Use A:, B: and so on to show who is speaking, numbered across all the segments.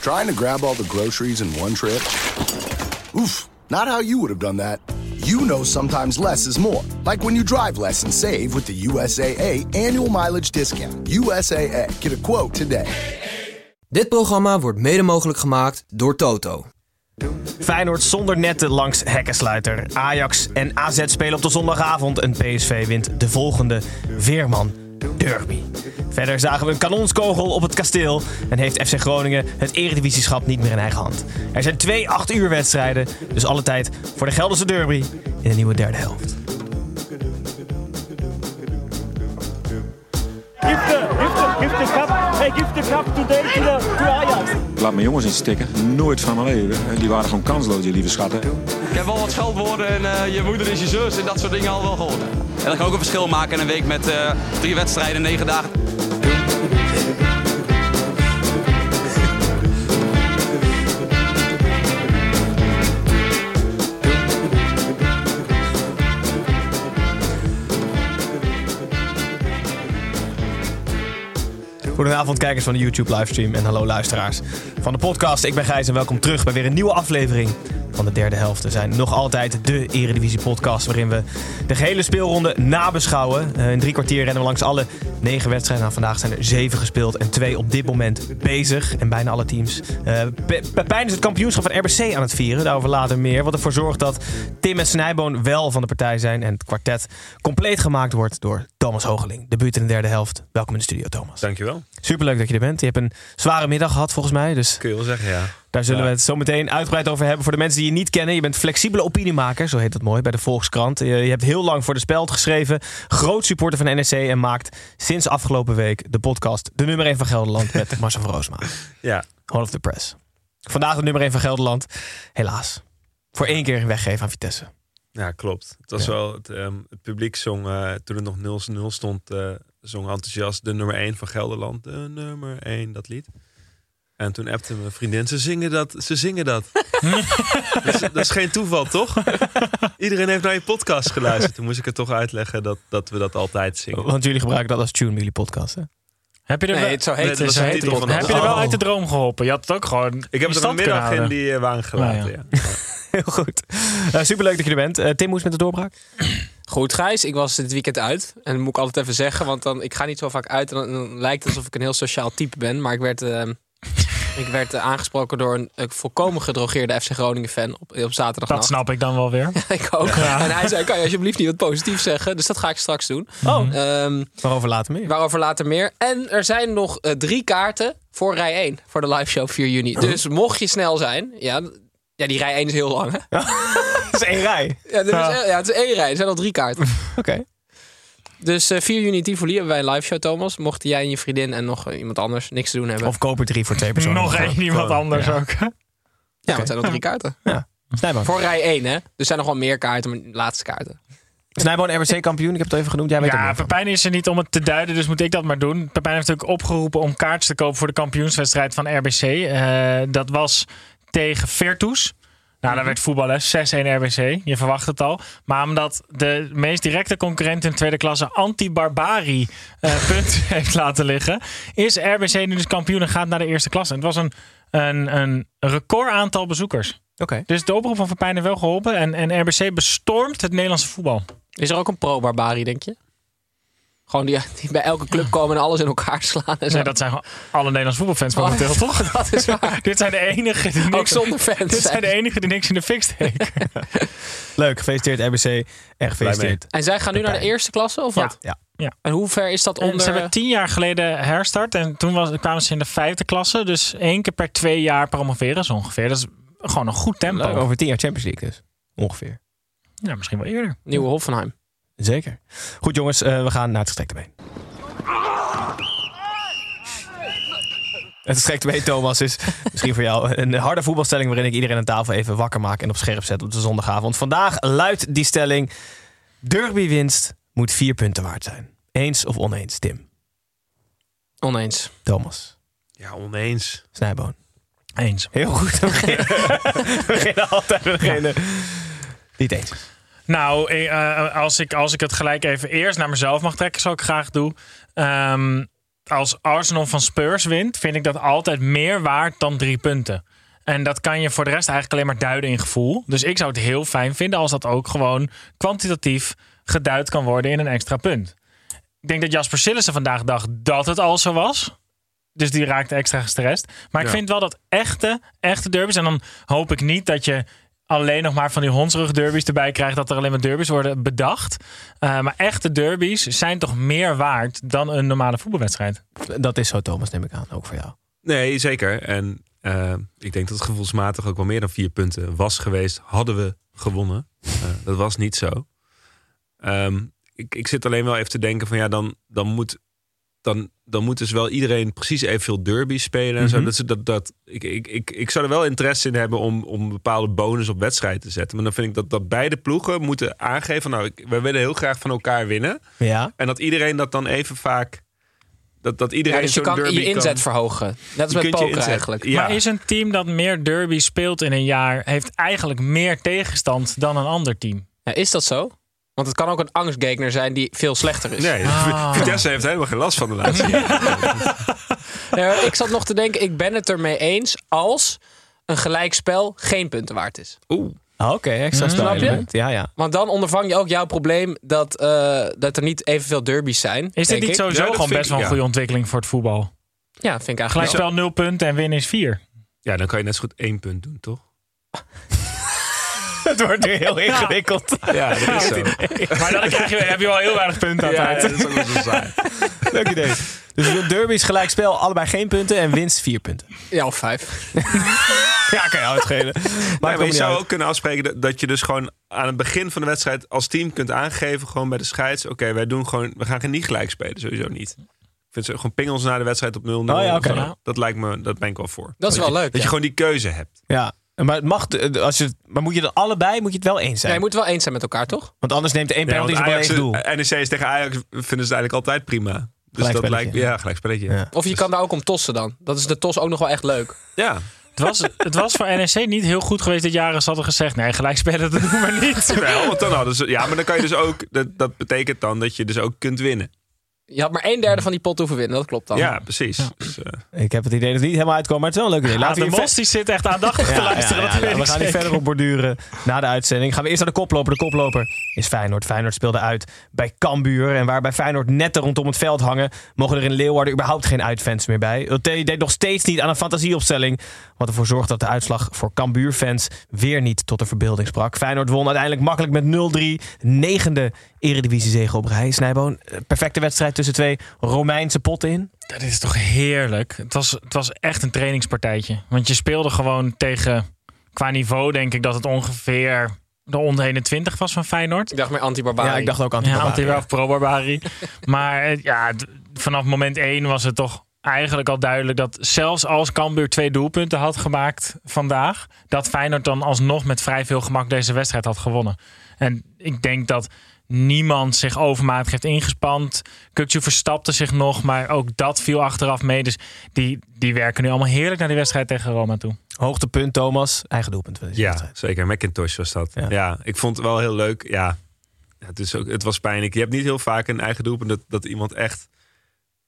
A: Trying to grab all the groceries in one trip? Oof, not how you would have done that. You know sometimes less is more. Like when you drive less and save with the USAA annual mileage discount. USAA, get a quote today.
B: Dit programma wordt mede mogelijk gemaakt door Toto.
C: Feyenoord zonder netten langs hekkensluiter. Ajax en AZ spelen op de zondagavond en PSV wint de volgende Veerman Derby. Verder zagen we een kanonskogel op het kasteel en heeft FC Groningen het eredivisieschap niet meer in eigen hand. Er zijn twee 8-uur wedstrijden, dus alle tijd voor de Gelderse Derby in de nieuwe derde helft.
D: Give the, give the, give the cup, hey, give the cup today to, the, to Ajax.
E: Laat mijn jongens niet stikken. Nooit van mijn leven. Eh, Die waren gewoon kansloos, die lieve schatten.
F: Ik heb al wat scheldwoorden en eh, je moeder is je zus en dat soort dingen al wel gehoord. En dat kan ook een verschil maken in een week met eh, drie wedstrijden, negen dagen.
C: Goedenavond kijkers van de YouTube livestream en hallo luisteraars van de podcast. Ik ben Gijs en welkom terug bij weer een nieuwe aflevering van de derde helft. We zijn nog altijd de Eredivisie podcast waarin we de gehele speelronde nabeschouwen. Eh, in drie kwartier rennen we langs alle negen wedstrijden. Nou, vandaag zijn er zeven gespeeld en twee op dit moment bezig. En bijna alle teams. Eh, Pe- Pepijn is het kampioenschap van RBC aan het vieren. Daarover later meer. Wat ervoor zorgt dat Tim en Snijboon wel van de partij zijn. En het kwartet compleet gemaakt wordt door Thomas Hoogeling. De buurt in de derde helft. Welkom in de studio Thomas.
G: Dankjewel.
C: Superleuk dat je er bent. Je hebt een zware middag gehad volgens mij. Dus
G: Kun je wel zeggen, ja.
C: daar zullen
G: Ja.
C: we het zo meteen uitgebreid over hebben. Voor de mensen die je niet kennen. Je bent flexibele opiniemaker, zo heet dat mooi, bij de Volkskrant. Je, je hebt heel lang voor de Speld geschreven. Groot supporter van NEC en maakt sinds afgelopen week de podcast De Nummer 1 van Gelderland met Marcel van Roosma.
G: Ja,
C: Hall of the Press. Vandaag de nummer 1 van Gelderland. Helaas. Voor één keer weggeven aan Vitesse.
G: ja klopt. Het was
C: Ja.
G: wel, het, ehm, het publiek zong, eh, toen het nog 0-0 stond, eh, zong enthousiast de nummer 1 van Gelderland. De nummer 1, dat lied. En toen appte mijn vriendin, ze zingen dat, ze zingen dat. dat, is, dat is geen toeval, toch? Iedereen heeft naar je podcast geluisterd. Toen moest ik het toch uitleggen dat, dat we dat altijd zingen.
C: Want jullie gebruiken dat als tune bij jullie podcast. Hè?
H: Heb je er
E: Nee,
H: wel,
E: het zou
G: Nee,
E: heten.
G: dat was de
E: zo heet
G: titel
E: de
G: van
E: podcast.
H: heb je er wel
C: Oh.
H: uit de droom geholpen? Je had het ook gewoon.
G: Ik heb
H: in
G: er
H: stand kunnen
G: vanmiddag in
H: houden.
G: die eh, waan gelaten.
H: Ah,
G: ja.
C: Heel goed. Eh, superleuk dat je er bent. Eh, Tim, hoe is het met de doorbraak?
E: Goed, Gijs, ik was dit weekend uit. En dat moet ik altijd even zeggen, want dan, ik ga niet zo vaak uit. En dan, dan lijkt het alsof ik een heel sociaal type ben. Maar ik werd, eh, ik werd eh, aangesproken door een, eh, volkomen gedrogeerde FC Groningen fan op, op
H: Dat
E: zaterdagnacht.
H: snap ik dan wel weer.
E: ik ook. En hij zei, kan je alsjeblieft niet wat positiefs zeggen? Dus dat ga ik straks doen.
C: Oh.
E: Ehm,
C: Waarover later meer.
E: Waarover later meer. En er zijn nog eh, drie kaarten voor rij 1 voor de live show 4 juni. Dus mocht je snel zijn, ja, d- ja die rij 1 is heel lang. Hè? Ja,
C: Dat is één rij.
E: er Is, ja, het is één rij, er zijn al drie kaarten.
C: Oké.
E: Dus eh, 4 juni in Tivoli hebben wij een live show, Thomas. Mochten jij en je vriendin en nog eh, iemand anders niks te doen hebben.
C: Of koper drie voor twee personen.
H: Nog één iemand anders ook.
E: ja, want het zijn al drie kaarten.
C: Snijboon.
E: Voor rij 1, hè? Dus er zijn nog wel meer kaarten, maar de laatste kaarten.
C: Snijboon, RBC kampioen. Ik heb het even genoemd. Jij weet
H: Ja,
C: het niet.
H: Pepijn is er niet om het te duiden, dus moet ik dat maar doen. Pepijn heeft natuurlijk opgeroepen om kaartjes te kopen voor de kampioenswedstrijd van RBC. Eh, dat was tegen Virtus. Nou, daar werd voetballen 6-1 RBC. Je verwacht het al. Maar omdat de meest directe concurrent in tweede klasse anti-barbari eh, punt heeft laten liggen, is RBC nu dus kampioen en gaat naar de eerste klasse. Het was een, een, een record aantal bezoekers.
C: Oké.
H: Dus de oproep van Pepijn heeft wel geholpen. En, en RBC bestormt het Nederlandse voetbal.
E: Is er ook een pro-barbari, denk je? Gewoon die, die bij elke club komen en alles in elkaar slaan. En zo.
H: Nee, dat zijn gewoon alle Nederlandse voetbalfans momenteel,
E: Oh,
H: toch?
E: dat is waar.
H: Dit zijn de enigen die
E: Ook
H: niks,
E: zonder fans.
H: dit
E: zijn.
H: zijn de enigen die niks in de fik steken.
C: Leuk. Gefeliciteerd RBC. Echt gefeliciteerd.
E: En zij gaan nu naar de eerste klasse of wat?
C: Ja.
E: En hoe ver is dat
H: En Ze
E: onder?
H: hebben tien jaar geleden herstart en toen was, kwamen ze in de vijfde klasse. Dus één keer per twee jaar promoveren ze ongeveer. Dat is gewoon een goed tempo.
C: Leuk. Over tien jaar Champions League dus. Ongeveer.
H: Ja, misschien wel eerder.
E: Nieuwe Hoffenheim.
C: Zeker. Goed jongens, eh, we gaan naar het gestrekte been. het strekt mee, Thomas, is misschien voor jou een harde voetbalstelling waarin ik iedereen aan tafel even wakker maak en op scherp zet op de zondagavond. Vandaag luidt die stelling: derbywinst moet vier punten waard zijn. Eens of oneens, Tim,
B: Oneens.
C: Thomas,
E: Ja, oneens.
C: Snijboon.
H: Eens.
C: Heel goed. We beginnen, we beginnen altijd met degene die het eens is.
H: Nou, eh, eh, als, ik, als ik het gelijk even eerst naar mezelf mag trekken, zal ik graag doen. Ehm, als Arsenal van Spurs wint, vind ik dat altijd meer waard dan drie punten. En dat kan je voor de rest eigenlijk alleen maar duiden in gevoel. Dus ik zou het heel fijn vinden als dat ook gewoon kwantitatief geduid kan worden in een extra punt. Ik denk dat Jasper Sillissen vandaag dacht dat het al zo was. Dus die raakte extra gestrest. Maar ik vind wel dat echte, echte derbies. En dan hoop ik niet dat je alleen nog maar van die hondsrug derbies erbij krijgt. Dat er alleen maar derbies worden bedacht. Eh, maar echte derbies zijn toch meer waard dan een normale voetbalwedstrijd.
C: Dat is zo, Thomas, neem ik aan, ook voor jou.
E: Nee, zeker. En eh, ik denk dat het gevoelsmatig ook wel meer dan vier punten was geweest. Hadden we gewonnen. Eh, dat was niet zo. Ehm, ik, ik zit alleen wel even te denken van ja, dan, dan moet... Dan, dan moet dus wel iedereen precies evenveel derby spelen. En zo.
H: Mhm.
E: Dat, ze- dat, dat, ik, ik, ik, ik zou er wel interesse in hebben om, om een bepaalde bonus op wedstrijd te zetten. Maar dan vind ik dat, dat beide ploegen moeten aangeven... van, nou, ik, wij willen heel graag van elkaar winnen.
C: Ja.
E: En dat iedereen dat dan even vaak... Dat, dat
B: Ja,
E: iedereen
B: dus je
E: zo'n
B: kan
E: derby
B: je inzet
E: kan-
B: verhogen. Net als
E: je
B: met
E: kunt je
B: poker
E: inzet-
B: eigenlijk.
E: Ja.
H: Maar is een team dat meer derbies speelt in een jaar... heeft eigenlijk meer tegenstand dan een ander team?
B: Ja, is dat zo? Want het kan ook een angstgegner zijn die veel slechter is.
E: Nee,
H: Ah.
E: Vitesse heeft helemaal geen last van de laatste.
B: Ja, maar ik zat nog te denken, ik ben het ermee eens als een gelijkspel geen punten waard is.
E: Oeh.
C: Ah, Oké, extra
H: Mm.
C: snel
B: Snap je?
C: element. Ja, ja.
B: Want dan ondervang je ook jouw probleem dat, eh, dat er niet evenveel derbies zijn.
H: Is dit
B: denk
H: niet
B: ik.
H: sowieso
E: Ja, dat
H: gewoon
E: vind
H: best wel een
E: ik, ja.
H: goede ontwikkeling voor het voetbal?
B: Ja, vind ik eigenlijk wel.
H: Gelijkspel 0 punten en win is 4.
E: Ja, dan kan je net zo goed één punt doen, toch?
C: Het wordt nu heel ingewikkeld.
E: Ja, dat is zo.
H: Maar dan krijg je, heb je wel heel weinig punten aan het
E: Ja,
H: eind.
E: dat is ook wel zo saai.
C: Leuk idee. Dus de derby is gelijk spel, allebei geen punten en winst vier punten.
B: Ja, of vijf.
C: Ja, kan je uitschelen.
E: Maar,
C: Maar,
E: je zou ook kunnen afspreken dat- dat je dus gewoon aan het begin van de wedstrijd als team kunt aangeven, gewoon bij de scheids, oké, wij doen gewoon, we gaan geen niet gelijk spelen, sowieso niet. Ik vind ze gewoon pingels na de wedstrijd op 0-0.
C: Oh ja,
E: of
C: oké.
E: zo. Dat lijkt me, dat ben ik wel voor.
B: Dat is wel leuk.
E: Dat je
B: ja.
E: gewoon die keuze hebt.
C: Ja. Maar, het mag, eh, als je, maar moet je er allebei moet je het wel eens
B: Ja,
C: zijn?
B: je moet wel eens zijn met elkaar, toch?
C: Want anders neemt de één
E: Ja,
C: penalty
E: want
C: ja,
E: Ajax, eh,
C: één doel.
E: NEC's tegen Ajax vinden ze het eigenlijk altijd prima. Dus dat
C: Gelijkspelletje.
E: lijkt, ja, gelijk spelletje. Dus-
C: Ja.
E: Ja.
B: Of je kan daar ook om tossen dan. Dat is de tos ook nog wel echt leuk.
H: Het was, het was voor NEC niet heel goed geweest dat jaren ze hadden gezegd... nee, gelijkspelen dat doen we niet.
E: Wel, want dan hadden ze, ja, maar dan kan je dus ook, dat, dat betekent dan dat je dus ook kunt winnen.
B: Je had maar een derde van die pot hoeven winnen, dat klopt dan.
E: Ja, precies. Dus, eh,
C: Ik heb het idee dat het niet helemaal uitkomt, maar het is wel een leuk idee.
H: Laat
C: Laten
H: Ah, de
C: we, hier
H: mos
C: ver-
H: die zit echt aandachtig te
C: Ja, ja,
H: luisteren.
C: ja,
H: dat weet
C: ja.
H: ik
C: we gaan niet
H: zeker.
C: verder op borduren na de uitzending. Gaan we eerst naar de koploper. De koploper is Feyenoord. Feyenoord speelde uit bij Cambuur. En waar bij Feyenoord netten rondom het veld hangen, mogen er in Leeuwarden überhaupt geen uitfans meer bij. Ulte deed nog steeds niet aan een fantasieopstelling. Wat ervoor zorgt dat de uitslag voor Cambuur-fans weer niet tot de verbeelding sprak. Feyenoord won uiteindelijk makkelijk met 0-3. Negende eredivisie-zege op rij. Snijboon, eh, perfecte wedstrijd tussen twee Romeinse potten in.
H: Dat is toch heerlijk. Het was, het was echt een trainingspartijtje. Want je speelde gewoon tegen... Qua niveau denk ik dat het ongeveer de onder 21 was van Feyenoord.
B: Ik dacht meer anti-barbarie.
C: Ja, ik dacht ook aan
H: Ja,
C: het
H: anti of pro-barbari. maar eh, ja, d- vanaf moment 1 was het toch eigenlijk al duidelijk... dat zelfs als Cambuur twee doelpunten had gemaakt vandaag... dat Feyenoord dan alsnog met vrij veel gemak deze wedstrijd had gewonnen. En ik denk dat niemand zich overmatig heeft ingespant. Kukcu verstapte zich nog, maar ook dat viel achteraf mee. Dus die, die werken nu allemaal heerlijk naar die wedstrijd tegen Roma toe.
C: Hoogtepunt, Thomas. Eigen doelpunt. van deze
E: Ja,
C: wedstrijd.
E: zeker. Macintosh was dat.
C: Ja.
E: Ja, ik vond het wel heel leuk. Ja, het, is ook, het was pijnlijk. Je hebt niet heel vaak een eigen doelpunt dat, dat iemand echt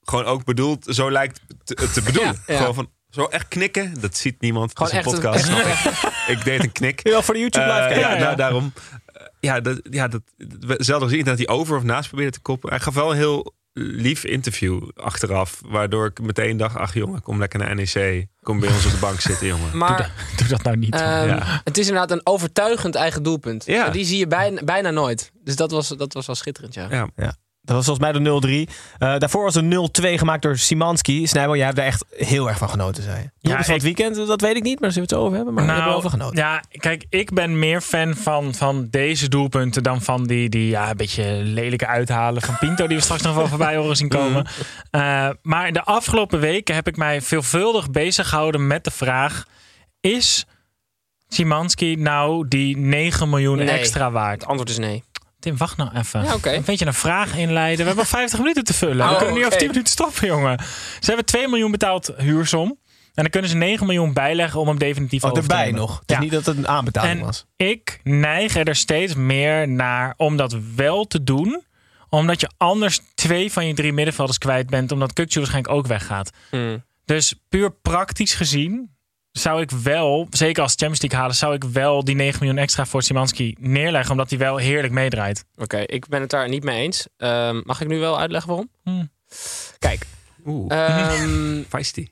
E: gewoon ook bedoelt. Zo lijkt te, te bedoelen.
B: Ja, ja.
E: Gewoon van zo echt knikken. Dat ziet niemand. Het
B: Gewoon
E: is een
B: echt een-
E: podcast. ik deed een knik.
C: Heel voor de YouTube live
E: Eh,
C: kijken.
E: ja, nou, daarom. Eh, Ja, dat, ja, dat, we- zelden gezien dat hij over of naast probeerde te koppen. Hij gaf wel een heel lief interview achteraf. Waardoor ik meteen dacht, ach jongen, kom lekker naar NEC. Kom bij ons op de bank zitten, jongen.
B: Maar
H: Doe dat nou niet.
B: ehm,
E: Ja.
B: het is inderdaad een overtuigend eigen doelpunt.
E: Ja.
B: En Die zie je bijna, bijna nooit. Dus dat was, dat was wel schitterend, ja.
E: Ja.
C: Ja. Dat was volgens mij de 0-3. Eh, daarvoor was een 0-2 gemaakt door Simanski. Snijbo, jij hebt daar echt heel erg van genoten, zei je. Ja, van
H: ik- Nou,
C: het weekend, dat weet ik niet, maar daar zullen we het over hebben. Maar we hebben wel van genoten.
H: Ja, kijk, ik ben meer fan van, van deze doelpunten dan van die, die ja, een beetje lelijke uithalen van Pinto, die we straks nog wel voorbij horen zien komen. Eh, maar de afgelopen weken heb ik mij veelvuldig bezig gehouden met de vraag: is Simanski nou die 9 miljoen
E: Nee.
H: extra waard?
E: Het antwoord is nee.
C: Oh,
H: Tim, wacht nou even.
E: Ja, oké.
H: Een beetje een vraag inleiden. We hebben 50 minuten te vullen.
E: Oh,
H: we kunnen niet over
E: oké.
H: 10 minuten stoppen, jongen. Ze hebben 2 miljoen betaald huursom. En dan kunnen ze 9 miljoen bijleggen om hem definitief
C: Oh,
H: over te
C: erbij
H: nemen.
C: nog. Het is
H: Ja.
C: niet dat het een aanbetaling
H: En
C: was.
H: ik neig er dus steeds meer naar om dat wel te doen. Omdat je anders twee van je drie middenvelders kwijt bent. Omdat Kukcu waarschijnlijk ook weggaat.
E: Hmm.
H: Dus puur praktisch gezien zou ik wel, zeker als Champions League halen, zou ik wel die 9 miljoen extra voor Simanski neerleggen. Omdat hij wel heerlijk meedraait.
E: Oké, ik ben het daar niet mee eens. Ehm, mag ik nu wel uitleggen waarom?
H: Hmm.
E: Kijk,
G: Oeh,
E: ehm,
G: feisty.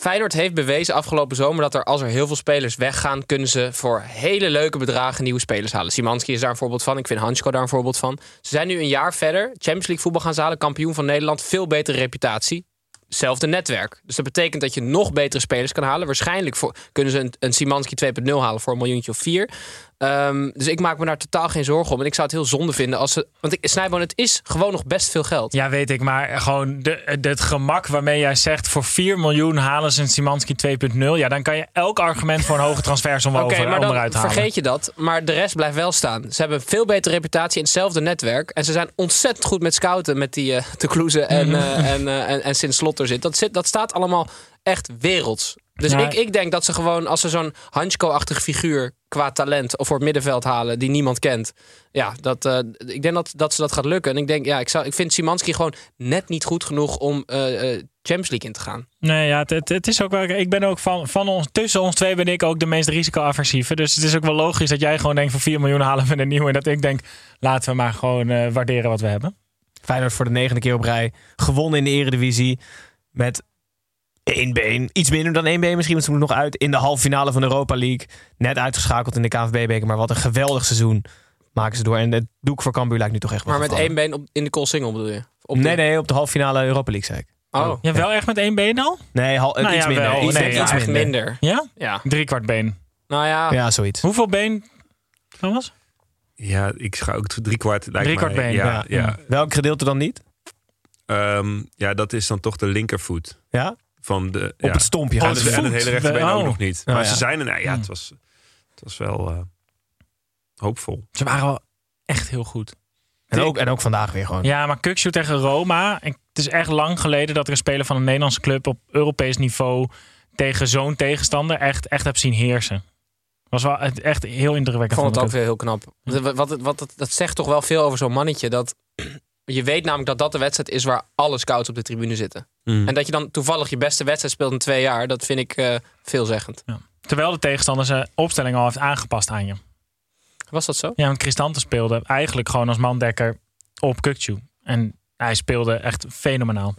E: Feyenoord heeft bewezen afgelopen zomer dat er als er heel veel spelers weggaan, kunnen ze voor hele leuke bedragen nieuwe spelers halen. Simanski is daar een voorbeeld van. Ik vind Hansko daar een voorbeeld van. Ze zijn nu een jaar verder. Champions League voetbal gaan zalen, kampioen van Nederland, veel betere reputatie. Hetzelfde netwerk. Dus dat betekent dat je nog betere spelers kan halen. Waarschijnlijk voor, kunnen ze een, een Simanski 2.0 halen voor een miljoentje of vier. Ehm, dus ik maak me daar totaal geen zorgen om. En ik zou het heel zonde vinden als ze. Want ik, Snijboon, het is gewoon nog best veel geld.
H: Ja, weet ik. Maar gewoon de, de- het gemak waarmee jij zegt voor 4 miljoen halen ze een Simanski 2.0. Ja, dan kan je elk argument voor een hoge transfersom wel
E: Oké,
H: over,
E: maar
H: onderuit
E: dan
H: halen.
E: vergeet je dat. Maar de rest blijft wel staan. Ze hebben een veel betere reputatie in hetzelfde netwerk. En ze zijn ontzettend goed met scouten. Met die eh de Kloeze en, eh en, eh, en, en Sint Slotter zit. Dat, zit. dat staat allemaal echt werelds. Dus
H: Ja.
E: ik, ik denk dat ze gewoon, als ze zo'n Hansko-achtige figuur qua talent of voor het middenveld halen die niemand kent. Ja, dat, eh, ik denk dat, dat ze dat gaat lukken. En ik denk, ja, ik, zou, ik vind Simanski gewoon net niet goed genoeg om eh, eh, Champions League in te gaan.
H: Nee, ja, het, het, het is ook wel. Ik ben ook van, van ons, tussen ons twee ben ik ook de meest risicoaversieve. Dus het is ook wel logisch dat jij gewoon denkt: van 4 miljoen halen we een nieuwe. En dat ik denk: laten we maar gewoon eh, waarderen wat we hebben.
C: Feyenoord voor de negende keer op rij. Gewonnen in de eredivisie. Met één been. Iets minder dan één been misschien. Want ze moeten nog uit in de halve finale van de Europa League. Net uitgeschakeld in de KNVB-beker. Maar wat een geweldig seizoen maken ze door. En het doek voor Cambuur lijkt nu toch echt wel
E: Maar met
C: te
E: één
C: vallen.
E: been op, in de call single bedoel je? Op
C: Nee,
E: de-
C: nee, op de halve finale Europa League zei ik.
E: Oh.
H: Ja, wel echt met één been al?
C: Nee, hal, eh,
H: Nou
C: iets
H: ja,
C: minder.
H: wel.
C: iets
H: Nee,
C: minder,
H: ja,
C: iets
E: echt
C: minder.
E: minder.
H: Ja?
E: Ja.
H: Driekwart been.
E: Nou ja,
C: Ja, zoiets.
H: Hoeveel been, Thomas?
G: Ja, ik ga ook drie kwart. Lijkt
H: Driekwart
G: mij.
H: been,
G: Ja, ja.
C: Ja. Mm. Hm. Welk gedeelte dan niet?
G: Ehm, ja, dat is dan toch de linkervoet.
C: Ja?
G: Van de,
C: Op het stompje.
H: Oh,
G: ja,
C: gaan
G: en,
H: het
C: ze-
G: de, en het
H: voet.
G: hele rechterbeen
H: Oh.
G: ook nog niet.
C: Oh,
G: maar
C: ja.
G: ze zijn er. nou ja, het was, het was wel eh, hoopvol.
H: Ze waren wel echt heel goed.
C: en, ook, en ook vandaag weer gewoon.
H: Ja, maar Kuksu tegen Roma. ik- Het is echt lang geleden dat er een speler van een Nederlandse club op Europees niveau tegen zo'n tegenstander echt, echt heb zien heersen. Was wel het- echt heel
E: Ik
H: indrukwekkend.
E: vond het
H: vond ik
E: ook weer heel knap. Wat, wat, wat, dat- dat zegt toch wel veel over zo'n mannetje. Dat, je weet namelijk dat dat de wedstrijd is waar alle scouts op de tribune zitten.
G: Mm.
E: En dat je dan toevallig je beste wedstrijd speelt in twee jaar, dat vind ik eh, veelzeggend.
H: het. Terwijl de tegenstander zijn opstelling al heeft aangepast aan je.
E: Was dat zo?
H: Ja, want Cristante speelde eigenlijk gewoon als mandekker op Kukcu. En hij speelde echt fenomenaal.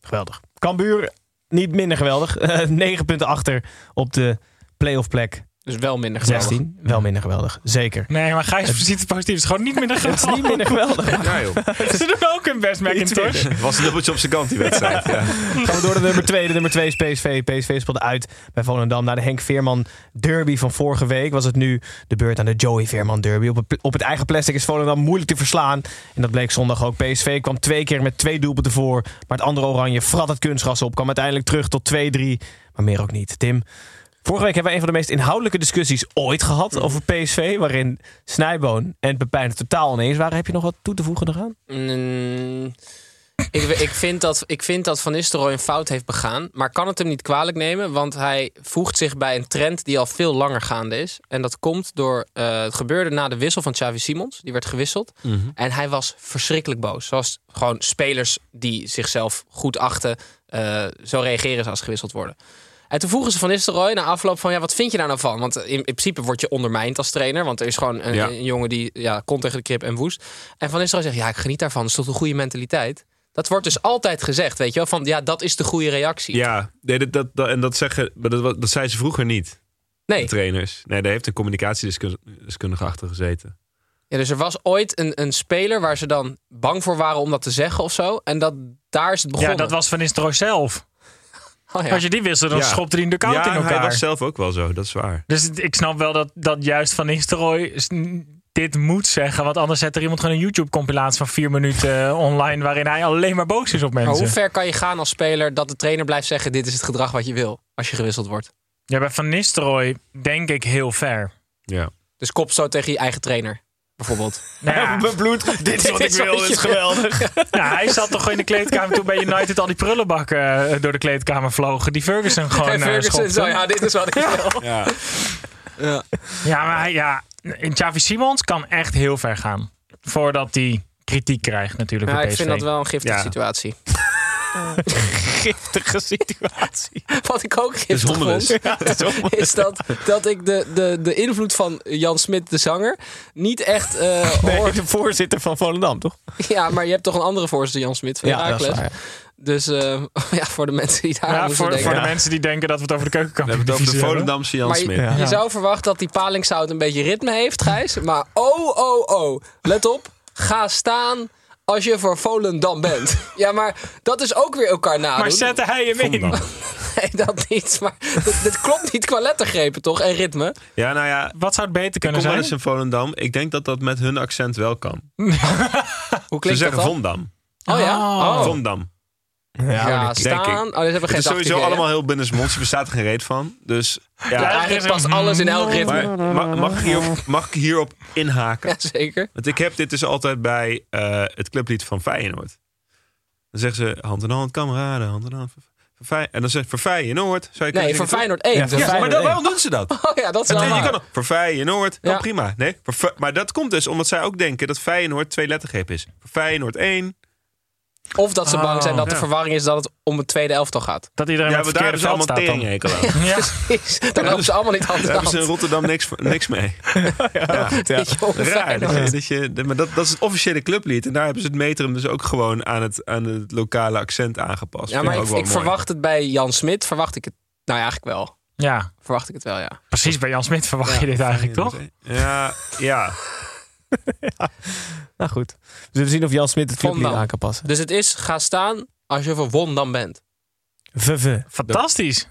C: Geweldig. Cambuur, niet minder geweldig. Eh, Negen punten achter op de playoff plek
E: Dus wel minder geweldig.
C: 16. Wel minder geweldig. Zeker.
H: Nee, maar Gijs ziet het positief. Het is gewoon niet minder
C: Het is
H: geweldig.
C: niet minder geweldig.
G: Ja, joh.
H: Ze doen ook hun best, McIntosh.
G: was een dubbeltje op zijn kant die wedstrijd. Ja.
C: Gaan we door naar nummer 2. De nummer 2 is PSV. PSV speelde uit bij Volendam. Na de Henk Veerman derby van vorige week was het nu de beurt aan de Joey Veerman derby. Op het, pl- op het eigen plastic is Volendam moeilijk te verslaan. En dat bleek zondag ook. PSV kwam twee keer met twee doelpunten voor. Maar het andere oranje frat het kunstgras op. Kwam uiteindelijk terug tot 2-3. Maar meer ook niet. Tim, vorige week hebben we een van de meest inhoudelijke discussies ooit gehad over PSV. Waarin Snijboon en Pepijn het totaal oneens waren. Heb je nog wat toe te voegen eraan?
E: Mm, ik, we- ik, vind dat, ik vind dat Van Nistelrooy een fout heeft begaan. Maar kan het hem niet kwalijk nemen. Want hij voegt zich bij een trend die al veel langer gaande is. En dat komt door... eh, het gebeurde na de wissel van Xavi Simons. Die werd gewisseld. En hij was verschrikkelijk boos. Zoals gewoon spelers die zichzelf goed achten... eh, zo reageren ze als ze gewisseld worden. En toen vroegen ze van Nistelrooy na afloop van... ja, wat vind je daar nou van? Want in, in principe word je ondermijnd als trainer. Want er is gewoon een,
G: Ja.
E: een jongen die ja, komt tegen de krip en woest. En Van Nistelrooy zegt, ja, ik geniet daarvan. Dat is toch een goede mentaliteit? Dat wordt dus altijd gezegd, weet je wel? Van, ja, dat is de goede reactie.
G: Ja, nee, dat, dat, dat- en dat, zeggen, maar dat, wa- dat zei ze vroeger niet, de
E: nee,
G: trainers. Nee, daar heeft een communicatiedeskundige achter gezeten.
E: Ja, dus er was ooit een, een speler waar ze dan bang voor waren om dat te zeggen of zo. En dat, daar is het
H: Ja,
E: begonnen.
H: dat was Van Nistelrooy zelf.
E: Oh ja.
H: Als je die wissel, dan
G: Ja.
H: schopte hij hem de koud
G: ja,
H: in elkaar.
G: hij was
C: eh,
G: zelf ook wel zo, dat is waar.
H: Dus het- ik snap wel dat, dat juist Van Nistelrooy s- n- dit moet zeggen. Want anders zet er iemand gewoon een YouTube-compilatie van vier minuten eh, online... waarin hij alleen maar boos is op
E: Maar Oh, hoe
H: mensen.
E: ver kan je gaan als speler dat de trainer blijft zeggen: dit is het gedrag wat je wil als je gewisseld wordt?
H: Ja, bij Van Nistelrooy denk ik heel ver.
G: Ja.
E: Dus kop zo tegen je eigen trainer, bijvoorbeeld.
H: Nou ja,
C: bloed, dit is wat ik
E: is wat
C: wil,
E: je
C: dit is
E: wil.
C: geweldig.
H: ja, hij zat toch gewoon in de kleedkamer toen bij United al die prullenbakken eh, door de kleedkamer vlogen. Die Ferguson gewoon
E: En
H: eh,
E: Ferguson,
H: schopte.
E: zo, ja, dit is wat ik wil.
G: Ja.
H: Ja, maar hij- ja, Javi Simons kan echt heel ver gaan. Voordat hij kritiek krijgt natuurlijk
E: Ja,
H: bij
E: ik
H: PSV.
E: vind dat wel een giftige
H: Ja.
E: situatie.
C: Giftige situatie.
E: Wat ik ook giftig
G: hommeles.
E: vond, is dat, dat ik de, de, de invloed van Jan Smit, de zanger, niet echt eh
C: Nee,
E: hoor.
C: de voorzitter van Volendam, toch?
E: Ja, maar je hebt toch een andere voorzitter, Jan Smit, van Heracles. Dus eh, ja, voor de mensen die daar aan
H: Ja,
E: moesten
H: voor,
E: denken.
H: voor de
C: Ja.
H: mensen die denken dat we het over de
G: We
H: keukenkampioen
G: hebben het over
H: divisie
G: de
H: hebben.
G: Volendamse Jan
E: Maar
G: Smit.
E: je,
C: Ja.
E: je zou verwachten dat die palingzout een beetje ritme heeft, Gijs. Maar oh, oh, oh. Let op. Ga staan als je voor Volendam bent. Ja, maar dat is ook weer elkaar nadoen.
H: Maar zette hij hem in?
E: Nee, dat niet. Maar dit, dit klopt niet qua lettergrepen, toch? En ritme.
G: Ja, nou ja,
H: Wat zou het beter
G: kom
H: kunnen
G: wel
H: zijn?
G: eens in Volendam. Ik denk dat dat met hun accent wel kan.
E: Hoe
G: Ze
E: klinkt dat
G: zeggen
E: dan?
G: Vondam.
E: Oh ja? Oh.
G: Vondam.
E: Ja,
G: denk ik.
E: staan. Oh, dit hebben we
G: Het
E: geen
G: is sowieso
E: dagidee, hè?
G: allemaal heel binnensmonds. Er bestaat geen reet van. Dus ja.
E: Eigenlijk past alles in elk ritme.
G: Maar ma- mag, ik hierop, mag ik hierop inhaken?
E: Ja, zeker.
G: Want ik heb dit dus altijd bij eh, het clublied van Feyenoord. Dan zeggen ze hand in hand, kameraden, hand in hand. voor- voor Fey- En dan zegt voor Feyenoord. Zou je kunnen
E: Nee,
G: zeggen,
E: voor
G: toch?
E: Feyenoord 1.
C: voor
G: Ja, maar
C: Feyenoord
G: dan,
C: één.
G: waarom doen ze dat?
E: Oh ja, dat is
G: Het-
E: wel
G: je
E: waar.
G: kan nog voor Feyenoord, dan
E: Ja.
G: prima. Nee, voor Fe- maar dat komt dus omdat zij ook denken dat Feyenoord twee lettergrepen is. Voor Feyenoord één. Oh,
E: Of dat ze bang zijn dat de
H: ja.
E: verwarring is dat het om het tweede elftal gaat.
H: Dat iedereen
G: Ja,
H: met het
G: maar daar
H: verkeerde
G: hebben ze allemaal
H: veld staat dan.
G: teringhekel aan.
H: Ja.
E: Dan lopen ze allemaal niet hand in
G: Daar hebben
E: hand.
G: ze in Rotterdam niks, voor- niks mee.
C: Ja.
E: Jongen,
G: Raar.
E: Feyenoord.
G: Dat je, dat je, dat- maar dat, dat is het officiële clublied. En daar hebben ze het metrum dus ook gewoon aan het, aan het lokale accent aangepast.
E: Ja,
G: Vind
E: maar ik,
G: ook wel
E: ik
G: mooi.
E: verwacht het bij Jan Smit. Verwacht ik het. Nou ja, eigenlijk wel.
H: ja,
E: Verwacht ik het wel, ja.
H: precies bij Jan Smit verwacht je dit eigenlijk, toch?
G: Ja, ja.
C: Nou goed. We zullen zien of Jan Smit het filmpje
E: Volendam.
C: aan kan passen.
E: Dus het is, ga staan als je verwond dan bent.
C: VV.
H: Fantastisch.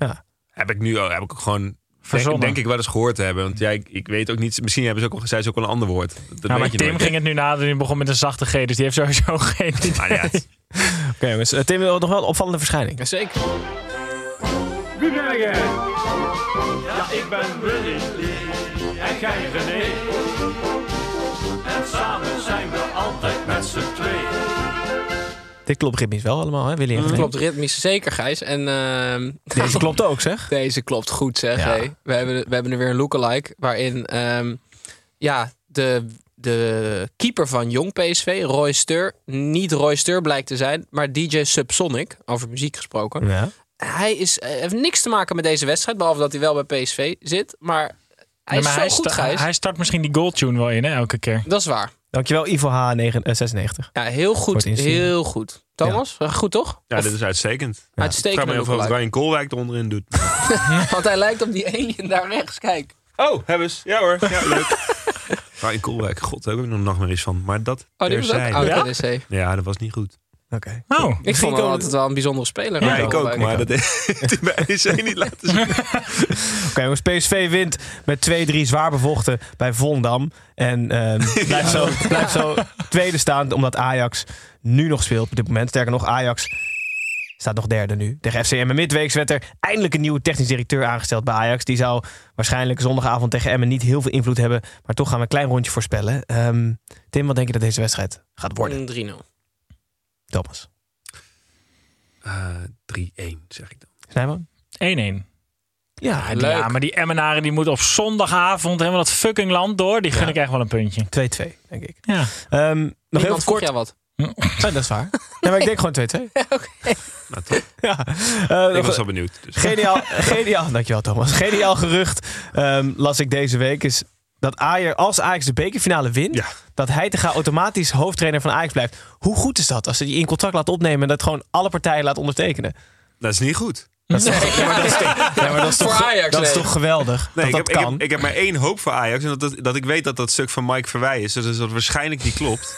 G: Heb ik nu al- heb ik ook gewoon. Denk,
H: Verzonnen.
G: denk ik wel eens gehoord te hebben. Want jij, ik, ik weet ook niet. Misschien hebben ze ook al, zei ze ook al een ander woord. Dat
H: Nou, maar
G: weet je
H: Tim
G: nooit.
H: ging het nu nadoen en die begon met een zachte G, dus die heeft sowieso geen idee.
G: Maar Ah, ja, het-
C: Oké jongens, Eh, Tim wil nog wel een opvallende verschijning.
E: Jazeker.
D: Goedemorgen. Ja, ik ben Willy en gij René. En samen zijn we altijd met z'n tweeën.
C: Dit klopt ritmisch wel allemaal, hè Willy? en René?
E: Klopt ritmisch zeker, Gijs. En ehm,
C: Deze klopt ook, zeg.
E: deze klopt goed, zeg.
C: Ja.
E: hé. We, hebben, we hebben er weer een lookalike waarin ehm, ja, de, de keeper van jong PSV, Roy Steur, niet Roy Steur blijkt te zijn, maar DJ Subsonic, over muziek gesproken.
C: Ja.
E: Hij is, eh, heeft niks te maken met deze wedstrijd, behalve dat hij wel bij PSV zit. Maar hij
H: Ja,
E: is
H: maar
E: zo
H: hij,
E: goed,
H: sta-
E: Gijs.
H: hij start misschien die goal tune wel in, hè, elke keer.
E: Dat is waar.
C: Dankjewel Ivo eh, H96.
E: Ja, heel goed.
C: het inzien.
E: Heel goed. Thomas, goed toch?
G: ja,
E: Of
G: dit is uitstekend. Ik
E: Uitstekend.
G: vraag me heel veel of Ryan Koolwijk eronder in doet.
E: Want hij lijkt op die alien daar rechts. Kijk.
G: Oh, hebben ze. Ja hoor. Ja, leuk. Ryan Koolwijk, god, daar heb ik nog nachtmerries van. Maar dat
E: Oh, die was ook
G: terzijde.
E: oud
H: Ja?
E: NEC. Ik
G: Ja, dat was niet goed.
C: Oké.
H: Oh,
E: vond hem altijd wel een bijzondere speler.
G: Ja,
E: hoor,
G: ik ook,
E: Koolwijk.
G: maar dat heeft hij bij NEC niet laten zien.
C: Oké, jongens, PSV wint met 2-3 zwaar bevochten bij Vondam. En ehm, blijft, zo, blijft zo tweede staan, omdat Ajax nu nog speelt op dit moment. Sterker nog, Ajax staat nog derde nu. Tegen FC Emmen midweeks werd er eindelijk een nieuwe technisch directeur aangesteld bij Ajax. Die zou waarschijnlijk zondagavond tegen Emmen niet heel veel invloed hebben. Maar toch gaan we een klein rondje voorspellen. Ehm, Tim, wat denk je dat deze wedstrijd gaat worden?
E: Een 3-0.
C: Thomas.
G: Eh, 3-1, zeg ik dan.
C: Snijman?
H: 1-1.
C: Ja,
E: Leuk.
H: Ja, maar die Emmenaren die moeten op zondagavond helemaal dat fucking land door. Die gun ik echt wel een puntje.
C: 2-2, denk ik.
H: Ja.
C: Ehm, nog heel
E: Iemand vroeg
C: kort.
E: jou wat.
C: Nee, Oh, dat is waar. Nee, maar ik denk gewoon 2-2.
G: Nou, toch.
C: Ja. Eh,
G: Ik
C: nog-
G: was al benieuwd. Dus.
C: Geniaal, geniaal, dankjewel Thomas. Geniaal gerucht ehm, las ik deze week is dat Ajax, als Ajax de bekerfinale wint,
G: Ja.
C: dat Heitinga automatisch hoofdtrainer van Ajax blijft. Hoe goed is dat als ze die in contract laat opnemen en dat gewoon alle partijen laat ondertekenen?
G: Dat is niet goed.
C: Dat is toch, ja, maar dat is, toch- ja, maar dat is toch,
E: Voor Ajax,
C: dat is
E: nee.
C: toch geweldig?
G: Nee,
C: dat
G: ik,
C: dat
G: heb, ik,
C: kan.
G: heb, ik heb maar één hoop voor Ajax. En dat, dat, dat ik weet dat dat stuk van Mike Verwij is. Dus dat waarschijnlijk niet klopt.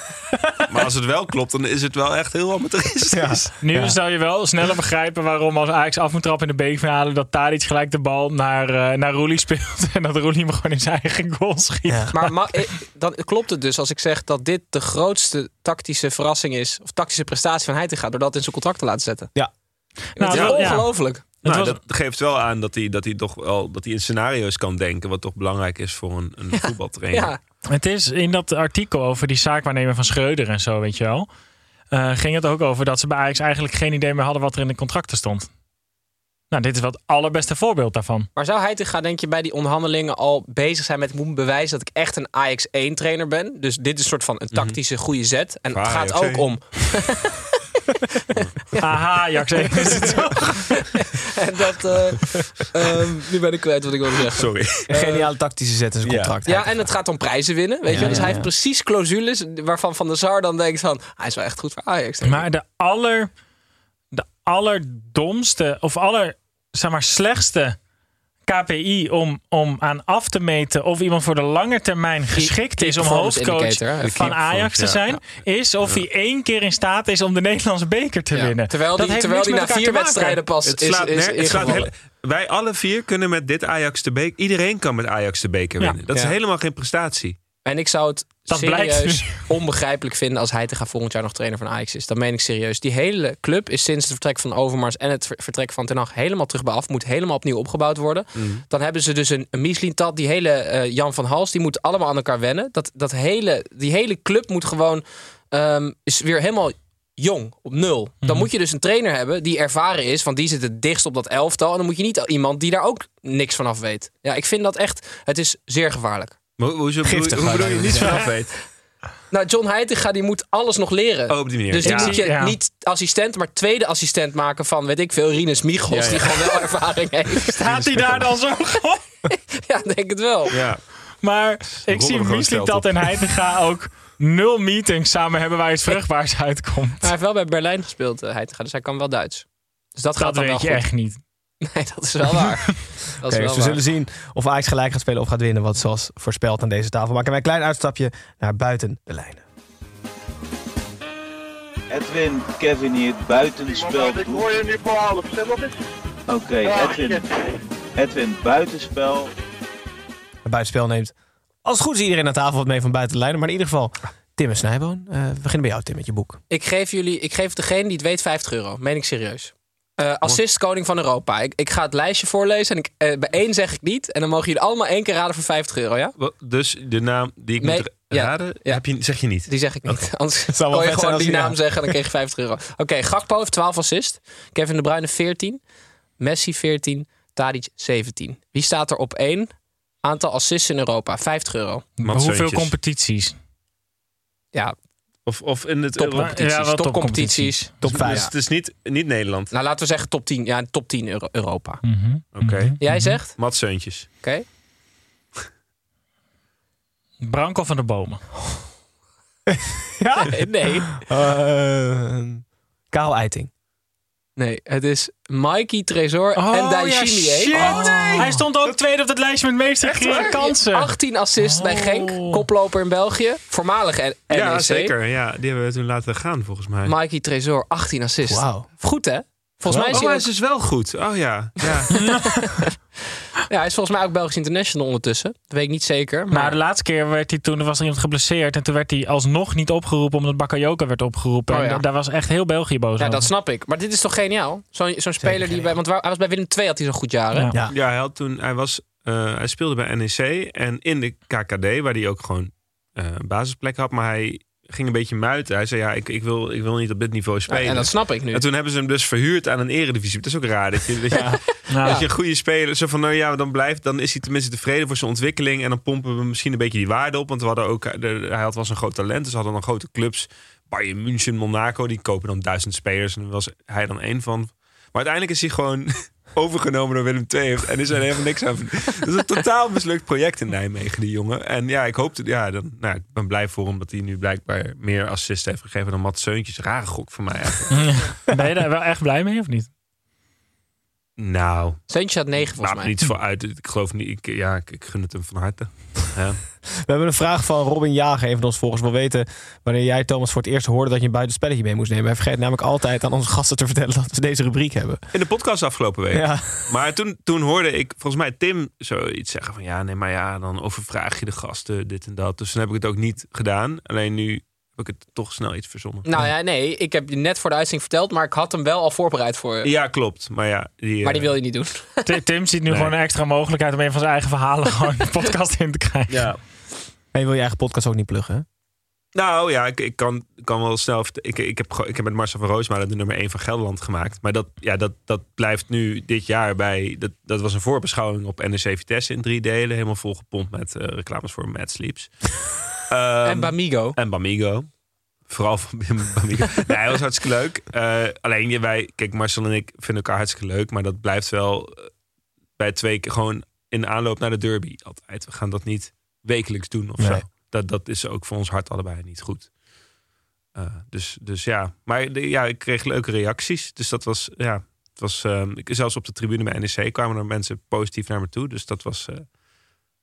G: maar als het wel klopt, dan is het wel echt heel amateuristisch.
H: Nu
C: Ja.
H: zou je wel sneller begrijpen waarom als Ajax af moet trappen in de beekfinale... dat Tadic gelijk de bal naar, eh naar Roelie speelt. En dat Roelie hem gewoon in zijn eigen goal schiet.
C: Ja.
E: Maar ma- eh, dan klopt het dus als ik zeg dat dit de grootste tactische verrassing is. Of tactische prestatie van Heitinga. Door dat in zijn contract te laten zetten.
C: Ja.
E: dat
H: Nou,
E: is
H: ja.
E: ongelooflijk.
H: Het
G: Nou,
H: was-
G: dat geeft wel aan dat hij, dat hij toch wel dat hij in scenario's kan denken. Wat toch belangrijk is voor een, een voetbaltrainer.
E: Ja.
H: Het is in dat artikel over die zaakwaarnemer van Schreuder en zo, weet je wel... eh, ging het ook over dat ze bij Ajax eigenlijk geen idee meer hadden wat er in de contracten stond. Nou, dit is wel het allerbeste voorbeeld daarvan.
E: Maar zou Heitinga, denk je, bij die onderhandelingen al bezig zijn met... ik moet bewijzen dat ik echt een Ajax 1 trainer ben? Dus dit is een soort van een tactische goede zet. En
G: Voor
E: het gaat
G: Ajax
E: ook
G: 1.
E: om...
H: Aha, Ajax is het zo.
E: En dat... eh, ehm, nu ben ik kwijt wat ik wilde zeggen.
G: Sorry.
C: Een geniale tactische zet in zijn
G: Ja.
C: contract.
E: Ja, en het gaat om prijzen winnen, weet je wel. Dus hij heeft precies clausules waarvan Van der Sar dan denkt van... hij is wel echt goed voor Ajax. denk ik.
H: Maar de aller, de allerdomste of aller, zeg maar, slechtste KPI om, om aan af te meten of iemand voor de lange termijn geschikt
E: key
H: is om
E: performance
H: hoofdcoach
E: indicator, hè? De
H: van
G: key
H: Ajax te
G: performance,
H: zijn, is of hij één keer in staat is om de Nederlandse beker te
E: Ja,
H: winnen.
E: Terwijl
H: Dat
E: die,
H: heeft
E: terwijl
H: niks
E: die na
H: met elkaar
E: vier
H: te maken.
E: wedstrijden pas
G: Het
E: is,
G: slaat
E: is
G: nergens- het slaat
E: ingevallen.
G: heel- Wij alle vier kunnen met dit Ajax de beker... Iedereen kan met Ajax de beker
H: Ja.
G: winnen. Dat is
E: Ja.
G: helemaal geen prestatie.
E: En ik zou het
H: Dat
E: serieus
H: blijkt dus.
E: onbegrijpelijk vinden als hij te gaan volgend jaar nog trainer van Ajax is. Dat meen ik serieus. Die hele club is sinds het vertrek van Overmars en het ver- vertrek van Ten Hag helemaal terug bij af. Moet helemaal opnieuw opgebouwd worden. Dan hebben ze dus een, een Mislintat, die hele eh, Jan van Hals, die moet allemaal aan elkaar wennen. Dat, dat hele, die hele club moet gewoon ehm, is weer helemaal jong, op nul. Dan
H: Mhm.
E: moet je dus een trainer hebben die ervaren is, want die zit het dichtst op dat elftal. En dan moet je niet iemand die daar ook niks vanaf weet. Ja, ik vind dat echt, het is zeer gevaarlijk.
G: Maar hoe- hoe- hoe-
C: Giftig,
G: hoe bedoel
C: wou
G: je
C: ik
G: niet
C: zeggen.
G: vanaf weet?
E: Nou, John Heitinga die moet alles nog leren.
G: Oh, op die manier.
E: Dus die
H: Ja.
E: moet je
H: Ja.
E: niet assistent, maar tweede assistent maken van, weet ik veel, Rinus Michels, die gewoon wel ervaring heeft.
H: Staat hij daar dan zo gewoon?
E: ja, denk het wel.
G: Ja.
H: Maar ik
G: rollen
H: zie
G: we gewoon
H: Misliep
G: stelt
H: dat
G: op.
H: en Heitinga ook nul meetings samen hebben waar het vruchtbaars uitkomt.
E: Maar hij heeft wel bij Berlijn gespeeld, eh, Heitinga, dus hij kan wel Duits. Dus dat, gaat
H: Dat
E: dan wel
H: weet
E: goed.
H: je echt niet.
E: Nee, dat is wel waar. dat is
C: Oké,
E: wel
C: dus we
E: waar.
C: zullen zien of Ajax gelijk gaat spelen of gaat winnen. Wat zoals voorspeld aan deze tafel maken wij een klein uitstapje naar buiten de lijnen.
I: Edwin, Kevin hier, buitenspel. Ik hoor je nu voor half, Oké, Edwin. Edwin, buitenspel.
C: Het buitenspel neemt. Als het goed is iedereen aan tafel wat mee van buiten de lijnen. Maar in ieder geval, Tim en Snijboon. eh, we beginnen bij jou Tim met je boek.
E: Ik geef jullie, ik geef degene die het weet 50 euro. Meen ik serieus. Eh, assist koning van Europa. Ik, ik ga het lijstje voorlezen en ik, eh, bij één zeg ik niet. En dan mogen jullie allemaal één keer raden voor 50 euro, ja?
G: Wat- Dus de naam die ik
E: Nee,
G: moet
E: ja,
G: raden,
E: ja.
G: Heb je, zeg je niet.
E: Die zeg ik niet. Anders
C: wel
E: kon je
C: vet zijn
E: gewoon
C: als
E: die
C: die-
E: naam
C: ja.
E: zeggen en dan kreeg je 50 euro. Oké, Gakpo heeft 12 assist. Kevin De Bruyne 14. Messi 14. Tadic 17. Wie staat er op 1? Aantal assists in Europa. 50 euro.
H: Maar
G: Mats
H: hoeveel
G: Zeuntjes.
H: competities?
E: Ja,
G: Of, of in het
H: Ja,
G: Euro-
H: wel
E: topcompetities. topcompetities.
C: Top
G: Dus
C: 5.
G: het is niet, niet Nederland.
E: Nou, laten we zeggen top 10. Ja, top 10 Euro- Europa.
G: Oké.
E: Jij zegt?
G: Mats Zeuntjes.
E: Oké.
H: Branko van de Bomen.
E: Nee.
C: Eh, Karel Eiting.
E: Nee, het is Mikey Tresor
H: Oh,
E: en Daishimi. Oh,
H: Hij stond ook tweede op het lijstje met meeste gere kansen.
E: 18 assists bij Genk, koploper in België. Voormalig en NEC.
G: Ja, zeker. Ja, die hebben we toen laten gaan volgens mij.
E: Mikey Tresor, 18 assists.
C: Wauw.
E: Goed hè? Volgens mij is
G: oh,
E: hij,
G: hij
E: ook-
G: is dus wel goed. Oh ja. ja.
E: ja, hij is volgens mij ook Belgisch international ondertussen. Dat weet ik niet zeker. Maar,
H: Maar de laatste keer werd hij toen, er was er iemand geblesseerd. En toen werd hij alsnog niet opgeroepen omdat Bakayoko werd opgeroepen.
E: Oh
H: En
E: ja.
H: da- daar was echt heel België boos
E: ja,
H: over.
E: dat snap ik. Maar dit is toch geniaal? Zo'n zo'n speler die bij. Want waar- hij was bij Willem II had hij zo'n goed jaar. Hè?
H: Ja.
G: ja, hij, had toen, hij, was, eh, hij speelde bij NEC en in de KKD, waar hij ook gewoon eh, een basisplek had. Maar hij ging een beetje muiten. Hij zei, ja, ik, ik, wil, ik wil niet op dit niveau spelen.
E: Nou, en dat snap ik nu.
G: dus- En toen hebben ze hem dus verhuurd aan een eredivisie. Dat is ook raar. Dat je, dat je,
H: Nou,
G: dat je een goede speler... Zo van, nou ja, dan, blijft, dan is hij tenminste tevreden voor zijn ontwikkeling. En dan pompen we misschien een beetje die waarde op. Want we hadden ook, eh, de- hij had, was een groot talent. Dus we hadden dan grote clubs. Bayern München, Monaco. Die kopen dan duizend spelers. En daar was hij dan één van. Maar uiteindelijk is hij gewoon overgenomen door Willem II. En is er helemaal niks aan. Dat is een totaal mislukt project in Nijmegen, die jongen. En ja, ik hoopte... Ja, dan, nou, ik ben blij voor hem dat hij nu blijkbaar meer assist heeft gegeven dan Mats Zeuntjes. Rare gok voor mij eigenlijk.
H: Ben je daar wel echt blij mee of niet?
G: Nou,
E: Steuntje had 9 volgens
G: maakt
E: mij.
G: me niets voor uit. Ik geloof niet. Ik, ja, ik, ik gun het hem van harte. Ja.
C: We hebben een vraag van Robin Jager, een van ons volgers. Wil weten wanneer jij, Thomas, voor het eerst hoorde dat je een buitenspelletje mee moest nemen. Hij vergeet namelijk altijd aan onze gasten te vertellen dat we deze rubriek hebben.
G: In de podcast afgelopen week.
C: Ja.
G: Maar toen, toen hoorde ik volgens mij Tim zoiets zeggen van... ja, nee, maar ja, dan overvraag je de gasten, dit en dat. Dus toen heb ik het ook niet gedaan. Alleen nu heb ik het toch snel iets verzonnen.
E: Nou ja, nee, ik heb je net voor de uitzending verteld, maar ik had hem wel al voorbereid voor je.
G: Ja, klopt. Maar ja, die,
E: Maar die
G: eh,
E: wil je niet doen.
H: Tim- Tim ziet nu
G: Nee.
H: gewoon een extra mogelijkheid om een van zijn eigen verhalen gewoon de podcast in te krijgen.
G: Ja.
C: En je wil je eigen podcast ook niet pluggen, hè?
G: Nou ja, ik, ik kan, kan wel snel... vert- Ik, ik, heb, ge- ik heb met Marcel van Roosmalen de nummer 1 van Gelderland gemaakt. Maar dat, ja, dat, dat blijft nu dit jaar bij... Dat, dat was een voorbeschouwing op NEC Vitesse in drie delen. Helemaal volgepompt met eh, reclames voor Mad Sleeps. Ehm,
E: en Bamigo.
G: En Bamigo. Vooral van Bim- Bamigo. nee, hij was hartstikke leuk. Eh, alleen je- wij, kijk, Marcel en ik vinden elkaar hartstikke leuk. Maar dat blijft wel eh, bij twee keer gewoon in de aanloop naar de derby altijd. We gaan dat niet wekelijks doen of
C: Nee.
G: zo. Dat, dat is ook voor ons hart allebei niet goed. Eh, dus, dus ja, maar de- ja, ik kreeg leuke reacties. Dus dat was, ja, het was, eh, ik, zelfs op de tribune bij NEC kwamen er mensen positief naar me toe. Dus dat was, eh,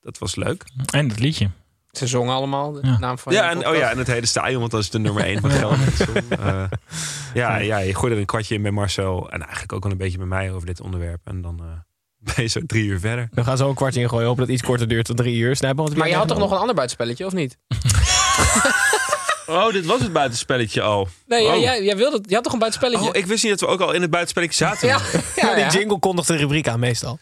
G: dat was leuk.
H: En dat liedje.
E: Ze zongen allemaal de
H: Ja.
E: naam van
G: Ja,
E: je
G: en, oh
E: podcast.
G: ja, en het hele stadion, want dat is de nummer één van Gelderland. Eh, ja, ja, je gooit er een kwartje in met Marcel en eigenlijk ook wel een beetje met mij over dit onderwerp. En dan eh ben je zo drie uur verder.
C: We gaan zo een kwartje ingooien. Hopen dat het iets korter duurt dan drie uur. Snijpen, want we
E: Maar je had toch
C: hebben
E: nog een ander buitenspelletje, of niet?
G: Oh, dit was het buitenspelletje al.
E: Nee,
G: Oh.
E: jij, jij wilde, je had toch een buitenspelletje?
G: Oh, ik wist niet dat we ook al in het buitenspelletje zaten.
E: Ja, ja,
C: Die
E: ja.
C: jingle kondigt een rubriek aan meestal.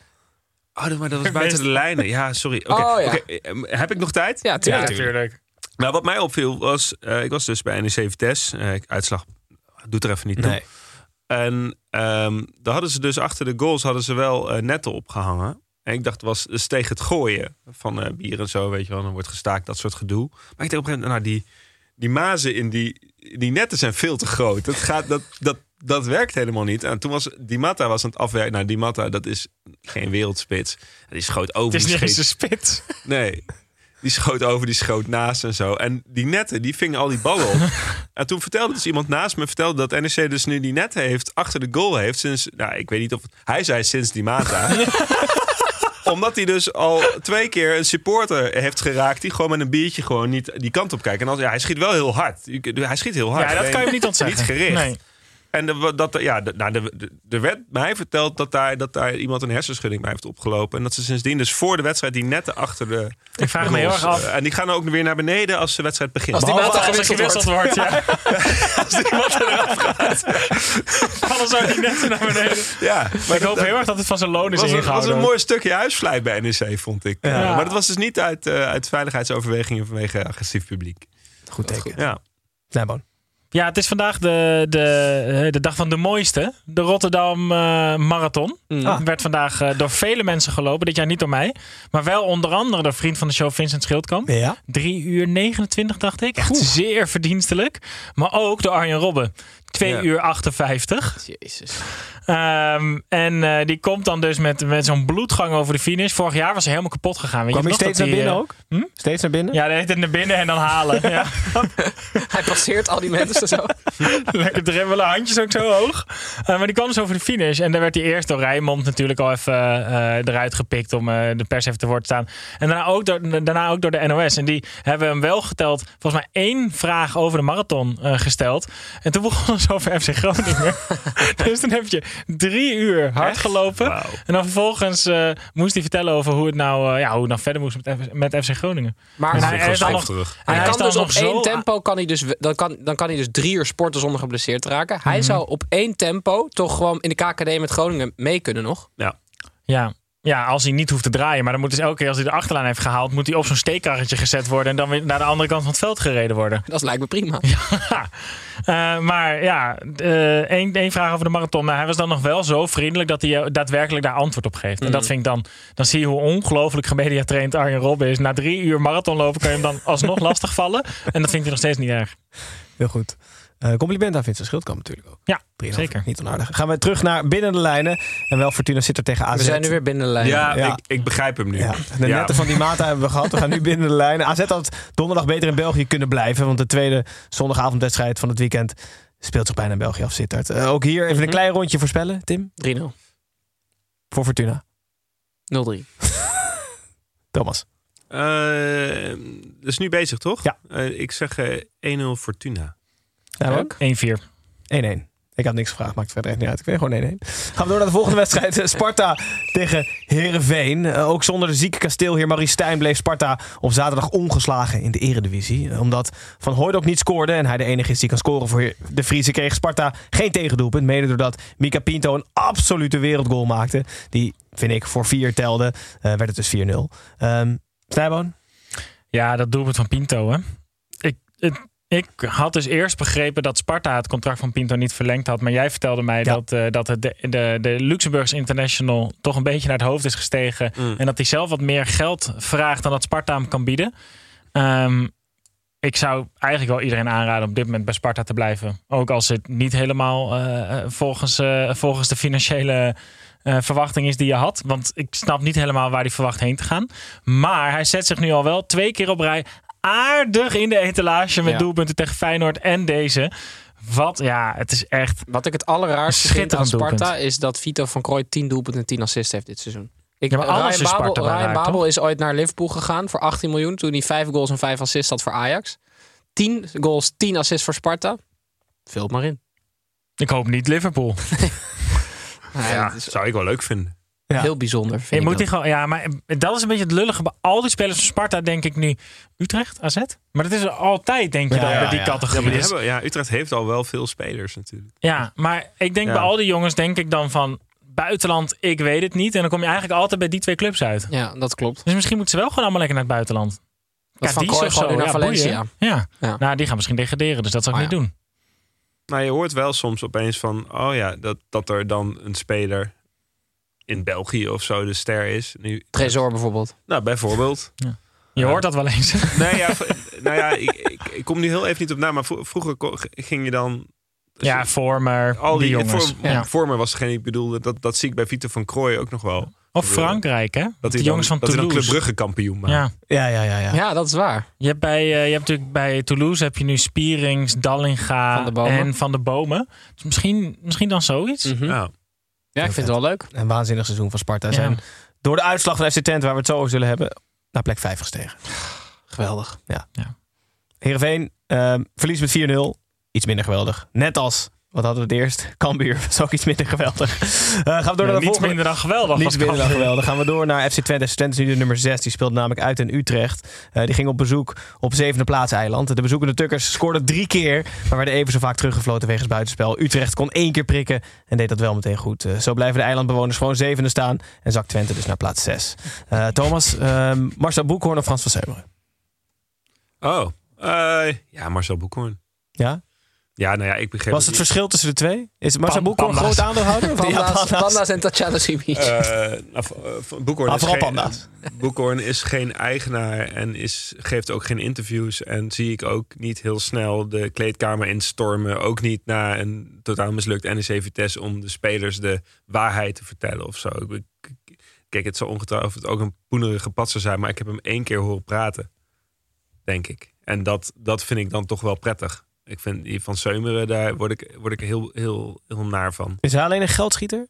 G: Oh, dat- maar dat was buiten de lijnen. Ja, sorry. Oké,
E: Oh, ja.
G: oké, eh, Heb ik nog tijd?
E: Ja, tuurlijk.
H: natuurlijk.
G: Nou, wat mij opviel was, eh, ik was dus bij NEC Vitesse. Eh, uitslag doet er even niet toe.
C: Nee.
G: En ehm daar hadden ze dus achter de goals hadden ze wel eh, netten opgehangen. En ik dacht, was dus tegen het gooien van eh, bier en zo, weet je wel. Dan wordt gestaakt, dat soort gedoe. Maar ik dacht op een gegeven moment, nou, die, die mazen in die, die netten zijn veel te groot. Dat, gaat, dat, dat, dat werkt helemaal niet. En toen was Di Matta was aan het afwerken. Nou, Di Matta, dat is geen wereldspits. Die schoot over
H: Het is
G: die
H: niet eens
G: schiet.
H: een spits.
G: Nee. Die schoot over, die schoot naast en zo. En die netten, die vingen al die ballen op. en toen vertelde dus iemand naast me vertelde dat NEC dus nu die netten heeft, achter de goal heeft. Sinds, nou, ik weet niet of... Hij zei sinds die mata. Omdat hij dus al twee keer een supporter heeft geraakt... die gewoon met een biertje gewoon niet die kant op kijkt. En als, ja, hij schiet wel heel hard. Je kunt- Hij schiet heel
H: Ja,
G: hard.
H: dat kan je
G: Alleen
H: hem niet ontzeggen.
G: Niet gericht.
H: Nee.
G: En de- dat, ja, de- nou, de- de- er werd mij verteld dat daar, dat daar iemand een hersenschudding bij heeft opgelopen. En dat ze sindsdien dus voor de wedstrijd die netten achter de
H: Ik vraag me heel
G: goals,
H: erg af.
G: eh, En die gaan ook weer naar beneden als de wedstrijd begint.
E: Als die
H: Behalve
E: maat
H: als er
E: gewisseld
H: gewisseld wordt. Ja. Alles uit die netten naar beneden.
G: ja, maar
H: ik hoop heel erg dat het van zijn loon is
G: dat was een, was
H: ingehouden.
G: een mooi stukje huisvlijt bij NEC, vond ik. Eh, maar dat was dus niet uit, eh, uit veiligheidsoverwegingen vanwege agressief publiek.
C: Goed teken.
G: Ja.
C: Snijboon.
H: Ja, het is vandaag de, de, eh, de dag van de mooiste. De Rotterdam eh, Marathon.
E: Ah.
H: Werd vandaag eh, door vele mensen gelopen. Dit jaar niet door mij. Maar wel onder andere door vriend van de show Vincent Schildkamp.
C: Ja.
H: 3 uur 29, dacht ik. Echt zeer verdienstelijk. Maar ook door Arjen Robben. 2
G: Ja.
H: uur 58.
E: Jezus.
H: Ehm, en eh, die komt dan dus met, met zo'n bloedgang over de finish. Vorig jaar was hij helemaal kapot gegaan. Weet
C: Kwam je
H: nog
C: steeds
H: dat
C: naar
H: hij,
C: binnen
H: eh,
C: ook? Hm? Steeds naar binnen?
H: Ja, de hele tijd naar binnen en dan halen. ja.
E: Hij passeert al die mensen zo.
H: Lekker dribbelen, handjes ook zo hoog. Eh, maar die kwam dus over de finish. En daar werd hij eerst door Rijnmond natuurlijk al even eh, eruit gepikt om eh, de pers even te woord te staan. En daarna ook, door, daarna ook door de NOS. En die hebben hem wel geteld, volgens mij één vraag over de marathon eh, gesteld. En toen begonnen ze over FC Groningen. dus dan heb je drie uur hard gelopen.
G: Wauw.
H: En dan vervolgens eh, moest hij vertellen over hoe het nou, eh, ja, hoe het nou verder moest met, F- met FC Groningen.
E: Maar
H: En
E: hij,
H: hij is dan nog,
G: terug.
H: en hij is
E: kan
H: dan
E: dus op
H: nog zo
E: één tempo kan hij dus, we- dan kan, dan kan hij dus drie uur sporten zonder geblesseerd te raken. Hij zou op één tempo toch gewoon in de KKD met Groningen mee kunnen nog.
H: Ja. ja, als hij niet hoeft te draaien. Maar dan moet dus elke keer als hij de achterlijn heeft gehaald... moet hij op zo'n steekkarretje gezet worden... en dan weer naar de andere kant van het veld gereden worden.
E: Dat lijkt me prima.
H: Eh, maar ja, eh, één, één vraag over de marathon. Nou, hij was dan nog wel zo vriendelijk dat hij je daadwerkelijk daar antwoord op geeft. En dat vind ik dan... Dan zie je hoe ongelooflijk gemediatraind Arjen Robben is. Na drie uur marathon lopen kan je hem dan alsnog lastig vallen. En dat vind ik nog steeds niet erg.
C: Heel goed. Eh, compliment aan Vincent Schildkamp natuurlijk ook.
H: Ja,
C: 3,5.
H: zeker.
C: Niet onaardig. Gaan we terug naar binnen de lijnen. En wel Fortuna zit er tegen AZ.
E: We zijn nu weer binnen de lijn.
G: Ja,
C: Ja.
G: Ik, ik begrijp hem nu.
C: Ja, de
G: Ja.
C: netten van die mata hebben we gehad. We gaan nu binnen de lijnen. AZ had donderdag beter in België kunnen blijven. Want de tweede zondagavondwedstrijd van het weekend Mhm. speelt zich bijna in België af, Sittard. Eh, ook hier even een klein rondje voorspellen, Tim.
E: 3-0.
C: voor Fortuna?
E: 0-3.
C: Thomas.
G: Eh, dat is nu bezig, toch?
C: Ja.
G: Eh, ik zeg eh, 1-0 Fortuna.
C: Ja,
H: 1-4.
C: 1-1. Ik had niks gevraagd, maakt verder echt niet uit. Ik weet gewoon 1-1. Gaan we door naar de volgende wedstrijd. Sparta tegen Herenveen. ook zonder de zieke kasteelheer Marie Stijn bleef Sparta op zaterdag ongeslagen in de eredivisie. Eh, omdat Van Hooydonk niet scoorde en hij de enige is die kan scoren voor de Friese, kreeg Sparta geen tegendoelpunt. Mede doordat Mika Pinto een absolute wereldgoal maakte. Die, vind ik, voor 4 telde. Eh, werd het dus 4-0. Ehm Snijboon?
H: Ja, dat doelpunt van Pinto, hè. Ik, het- ik had dus eerst begrepen dat Sparta het contract van Pinto niet verlengd had. Maar jij vertelde mij dat, eh, dat het de, de, de Luxemburgs International toch een beetje naar het hoofd is gestegen. En dat hij zelf wat meer geld vraagt dan dat Sparta hem kan bieden. Ehm, ik zou eigenlijk wel iedereen aanraden om op dit moment bij Sparta te blijven. Ook als het niet helemaal eh, eh, volgens, eh, volgens de financiële eh, verwachting is die je had. Want ik snap niet helemaal waar hij verwacht heen te gaan. Maar hij zet zich nu al wel twee keer op rij aardig in de etalage met
E: Ja.
H: doelpunten tegen Feyenoord en deze. Wat, ja, het is echt...
E: Wat ik het allerraarste vind aan
H: Schitterend
E: Sparta
H: doelpunt.
E: is dat Vito van Krooi 10 doelpunten en 10 assists heeft dit seizoen. Ik,
H: Ja, maar alles is
E: Babel,
H: Sparta wel
E: Ryan
H: raar,
E: Babel
H: toch?
E: is ooit naar Liverpool gegaan voor 18 miljoen. Toen hij 5 goals en 5 assists had voor Ajax. 10 goals, 10 assists voor Sparta. Vult maar in.
H: Ik hoop niet Liverpool.
E: Nou Ja, dat is
G: Zou ik wel leuk vinden.
C: Ja.
E: heel bijzonder. Vind
H: Je
E: ik
H: moet die
E: dat.
H: gewoon, ja, maar dat is een beetje het lullige bij al die spelers van Sparta, denk ik nu. Utrecht, AZ? Maar dat is er altijd, denk je,
C: Ja,
H: dan
C: ja,
H: met die
C: ja.
G: Ja, maar
H: categorie.
G: die
H: Ja,
G: hebben, ja, Utrecht heeft al wel veel spelers natuurlijk.
H: maar ik denk
G: Ja.
H: bij al die jongens, denk ik dan van buitenland, ik weet het niet. En dan kom je eigenlijk altijd bij die twee clubs uit.
E: Ja, dat klopt.
H: Dus misschien moeten ze wel gewoon allemaal lekker naar het buitenland.
E: Dat Van Krooi gewoon nu naar Valencia.
H: boeien. Ja.
E: Ja.
H: nou, die gaan misschien degraderen, dus dat zou ik
E: Oh,
H: niet doen.
G: Maar je hoort wel soms opeens van, oh ja, dat, dat er dan een speler in België of zo de ster is. Nu,
E: Trezor bijvoorbeeld.
G: Nou, bijvoorbeeld.
H: Je hoort dat wel eens.
G: Nee, ja, v- nou ja, ik, ik, ik kom nu heel even niet op naam, maar vro- vroeger ko- g- ging je dan...
H: ja, Vormer,
G: al die,
H: jongens.
G: Voor,
H: ja.
G: voor me was degene die ik bedoelde, dat, dat zie ik bij Vito van Krooij ook nog wel.
H: Of Frankrijk, hè?
G: Dat
H: die
G: hij dan-
H: jongens van
G: dat hij dan Club
H: Toulouse.
G: Brugge kampioen maakt.
H: ja.
C: Ja, ja, ja. ja.
E: Ja, dat is waar.
H: Je hebt, bij, eh, je hebt natuurlijk bij Toulouse heb je nu Spierings, Dallinga
E: Van de Bomen.
H: en Van de Bomen. Dus misschien, misschien dan zoiets.
G: Ja.
E: Mhm. Ja, ik vind het wel leuk.
C: Een waanzinnig seizoen van Sparta.
H: Ja.
C: Zijn door de uitslag van FC Twente, waar we het zo over zullen hebben, naar plek 5 gestegen.
E: Geweldig.
C: Heerenveen ehm verlies met 4-0. Iets minder geweldig. Net als, wat hadden we het eerst? Cambuur was ook iets minder geweldig. Eh, gaan we door
H: Nee,
C: naar de
H: niets
C: volgende.
H: minder dan geweldig.
C: Niets
H: was
C: minder dan
H: Cambuur.
C: geweldig. Gaan we door naar FC Twente. FC Twente is nu de nummer 6. Die speelt namelijk uit in Utrecht. Eh, die ging op bezoek op zevende plaats eiland. De bezoekende Tukkers scoorden drie keer. Maar werden even zo vaak teruggefloten wegens buitenspel. Utrecht kon één keer prikken en deed dat wel meteen goed. Eh, zo blijven de eilandbewoners gewoon zevende staan. En zakt Twente dus naar plaats 6. Thomas, ehm, Marcel Boekhoorn of Frans van Seemeren?
G: Oh, eh, ja, Marcel Boekhoorn.
C: Ja?
G: Ja, nou ja, ik begreep...
C: Was het
G: dat-
C: verschil tussen de twee? Is Marcel
H: Pan-
C: Boekhoorn
H: panda's.
C: groot aandeelhouder? Of- Ja,
E: Panda's,
C: panda's.
E: panda's en Tatjana Simic.
G: Eh, nou, v- eh, v- Boekhoorn,
C: Ah,
G: is
C: vooral
G: geen,
C: panda's.
G: Boekhoorn is geen eigenaar en is, geeft ook geen interviews. En zie ik ook niet heel snel de kleedkamer instormen. Ook niet na een totaal mislukt NEC Vitesse om de spelers de waarheid te vertellen of zo. Ik- ik- Kijk, het zal ongetwijfeld ook een poenerige patser zijn. Maar ik heb hem één keer horen praten, denk ik. En dat, dat vind ik dan toch wel prettig. Ik vind die van Seumeren, daar word ik, word ik heel, heel, heel naar van.
C: Is hij alleen een geldschieter?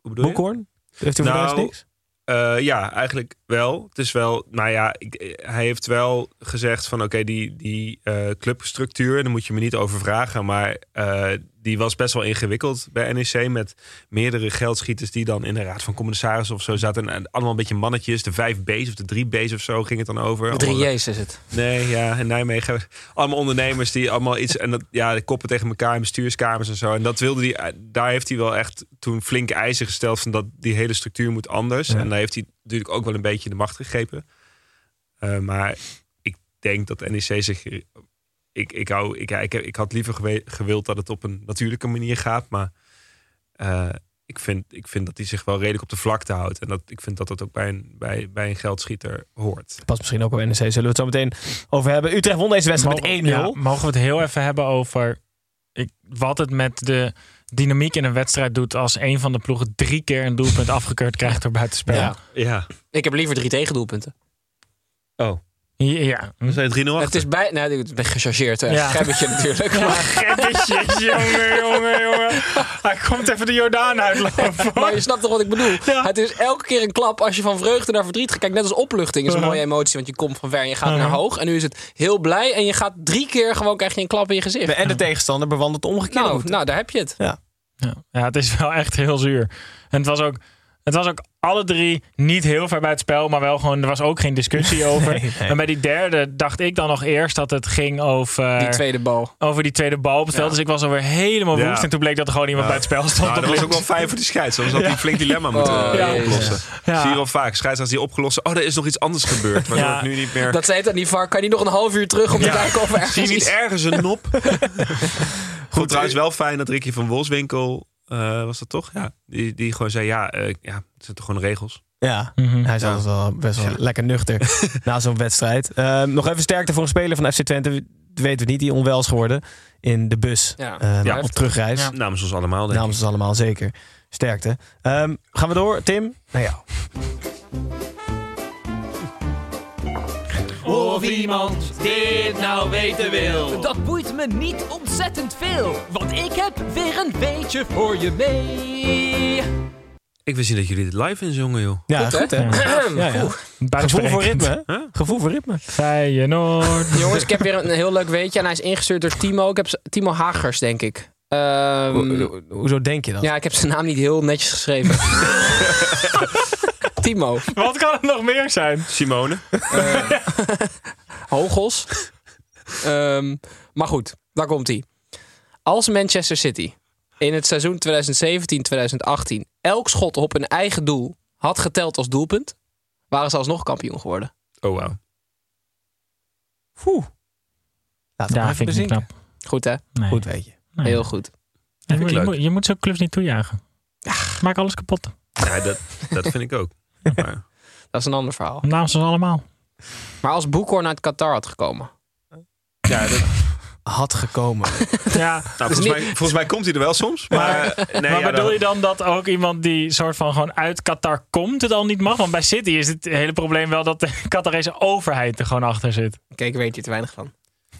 G: Hoe bedoel je?
C: Boekhoorn? Heeft hij voor de
G: Nou,
C: rest niks?
G: Eh, ja, eigenlijk wel. Het is wel, nou ja, ik, eh, hij heeft wel gezegd van oké, die, die eh, clubstructuur, daar moet je me niet over vragen. Maar eh, die was best wel ingewikkeld bij NEC met meerdere geldschieters die dan in de raad van commissarissen of zo zaten. En allemaal een beetje mannetjes, de 5B's of de 3B's of zo ging het dan over.
E: De drie
G: Allemaal-
E: J's is het.
G: Nee, ja, in Nijmegen. Allemaal ondernemers die allemaal iets. En dat, ja, de koppen tegen elkaar in bestuurskamers en zo. En dat wilde hij. Daar heeft hij wel echt toen flink eisen gesteld. van dat die hele structuur moet anders. En daar heeft hij natuurlijk ook wel een beetje de macht gegrepen. Eh, maar ik denk dat NEC zich. Ik, ik, hou, ik, ik, ik had liever gewe- gewild dat het op een natuurlijke manier gaat. Maar eh, ik, vind, ik vind dat hij zich wel redelijk op de vlakte houdt. En dat, ik vind dat dat ook bij een, bij, bij een geldschieter hoort.
C: Pas misschien ook op NEC. Zullen we het zo meteen over hebben. Utrecht won deze wedstrijd met 1-0.
H: Mogen- ja, mogen we het heel even hebben over ik, wat het met de dynamiek in een wedstrijd doet als een van de ploegen drie keer een doelpunt afgekeurd krijgt door buitenspel.
E: Ja.
H: Ja.
G: Ja.
E: Ik heb liever drie tegendoelpunten.
G: Oh.
H: Ja.
G: Dan zijn je 3-0
E: Het
G: achter.
E: is bij... Nee, het is gechargeerd. Een
H: Ja.
E: gebbetje natuurlijk.
H: Ja,
E: Maar,
H: gekketjes, jongen, jongen, jongen. Hij komt even de Jordaan uitlopen.
E: maar je snapt toch wat ik bedoel? Het is elke keer een klap als je van vreugde naar verdriet gaat. Kijk, net als opluchting is een mooie emotie. Want je komt van ver en je gaat naar hoog. En nu is het heel blij. En je gaat drie keer gewoon krijg je een klap in je gezicht.
C: En de tegenstander bewandelt de omgekeerde
E: Nou,
C: route.
E: nou, daar heb je het.
H: Ja, ja, het is wel echt heel zuur. En het was ook, het was ook alle drie niet heel ver bij het spel, maar wel gewoon, er was ook geen discussie over. En bij die derde dacht ik dan nog eerst dat het ging over
E: Die tweede bal.
H: over die tweede bal op het veld. Dus ik was alweer helemaal
G: Ja.
H: woest. En toen bleek dat er gewoon iemand bij het spel stond.
G: Nou,
H: op
G: dat was ook
H: links.
G: wel fijn voor die scheids. Anders had hij een flink dilemma moeten
E: Oh,
G: eh,
E: ja.
G: oplossen.
H: Ja.
G: Zie je wel vaak. Scheids als die opgelost. Oh, er is nog iets anders gebeurd. Waardoor
H: Ja.
G: het nu niet meer...
E: Dat zei het aan die VAR. Kan je nog een half uur terug om te
G: Ja.
E: kijken of er ergens
G: Zie je niet
E: iets-
G: ergens een nop? Goed, trouwens wel fijn dat Ricky van Wolfswinkel, eh, was dat toch? Ja. Die, die gewoon zei, ja, eh, ja, het zijn toch gewoon regels?
C: Ja,
H: Mhm.
C: hij is altijd wel best wel lekker nuchter na zo'n wedstrijd. Eh, nog even sterkte voor een speler van FC Twente. Dat weten we niet, die onwel is geworden in de bus
E: Ja.
C: eh,
E: Ja.
C: op terugreis.
G: Namens ons allemaal, denk
C: Namens ons allemaal zeker. Sterkte. Ehm, gaan we door, Tim? Nou ja.
D: Of iemand dit nou weten wil.
J: Dat boeit me niet ontzettend veel, want ik heb weer een beetje voor je mee.
G: Ik wist niet dat jullie dit live inzongen, joh.
C: Ja, goed, hè? Ja, ja. Gevoel voor
H: Buitensprekend.
C: ritme. hè?
G: Huh?
C: Gevoel voor ritme.
H: Feyenoord.
E: Jongens, ik heb weer een heel leuk weetje. En hij is ingestuurd door Timo. Ik heb z- Timo Hagers, denk ik. Ehm,
C: Ho- ho- Hoezo denk je dat?
E: ja, ik heb zijn naam niet heel netjes geschreven. Timo.
H: Wat kan het nog meer zijn?
G: Simone.
E: Hogels. Ehm, maar goed, daar komt hij. Als Manchester City in het seizoen 2017-2018 elk schot op hun eigen doel had geteld als doelpunt, waren ze alsnog kampioen geworden.
G: Oh, wauw.
C: Poeh. Laten we
H: Ja,
C: maar even
H: vind ik niet
C: bezinken.
H: knap.
E: Goed hè?
H: Nee.
C: Goed weet je.
H: Nee.
E: Heel goed.
H: Je, moet,
G: ik
H: je,
G: leuk.
H: moet, je moet zo'n clubs niet toejagen. Maak alles kapot.
G: Ja, dat, dat vind ik ook. Maar,
E: Dat is een ander verhaal.
H: Namens ons allemaal.
E: Maar als Boekhorn uit Qatar had gekomen.
G: ja, dat, nou,
C: Had gekomen.
H: Ja.
G: volgens, mij, volgens mij komt hij er wel soms. Maar, eh, nee,
H: maar
G: Nou ja,
H: bedoel
G: dan-
H: je dan dat ook iemand die soort van gewoon uit Qatar komt het al niet mag? Want bij City is het hele probleem wel dat de Qatarese overheid er gewoon achter zit.
E: Kijk, ik weet hier te weinig van.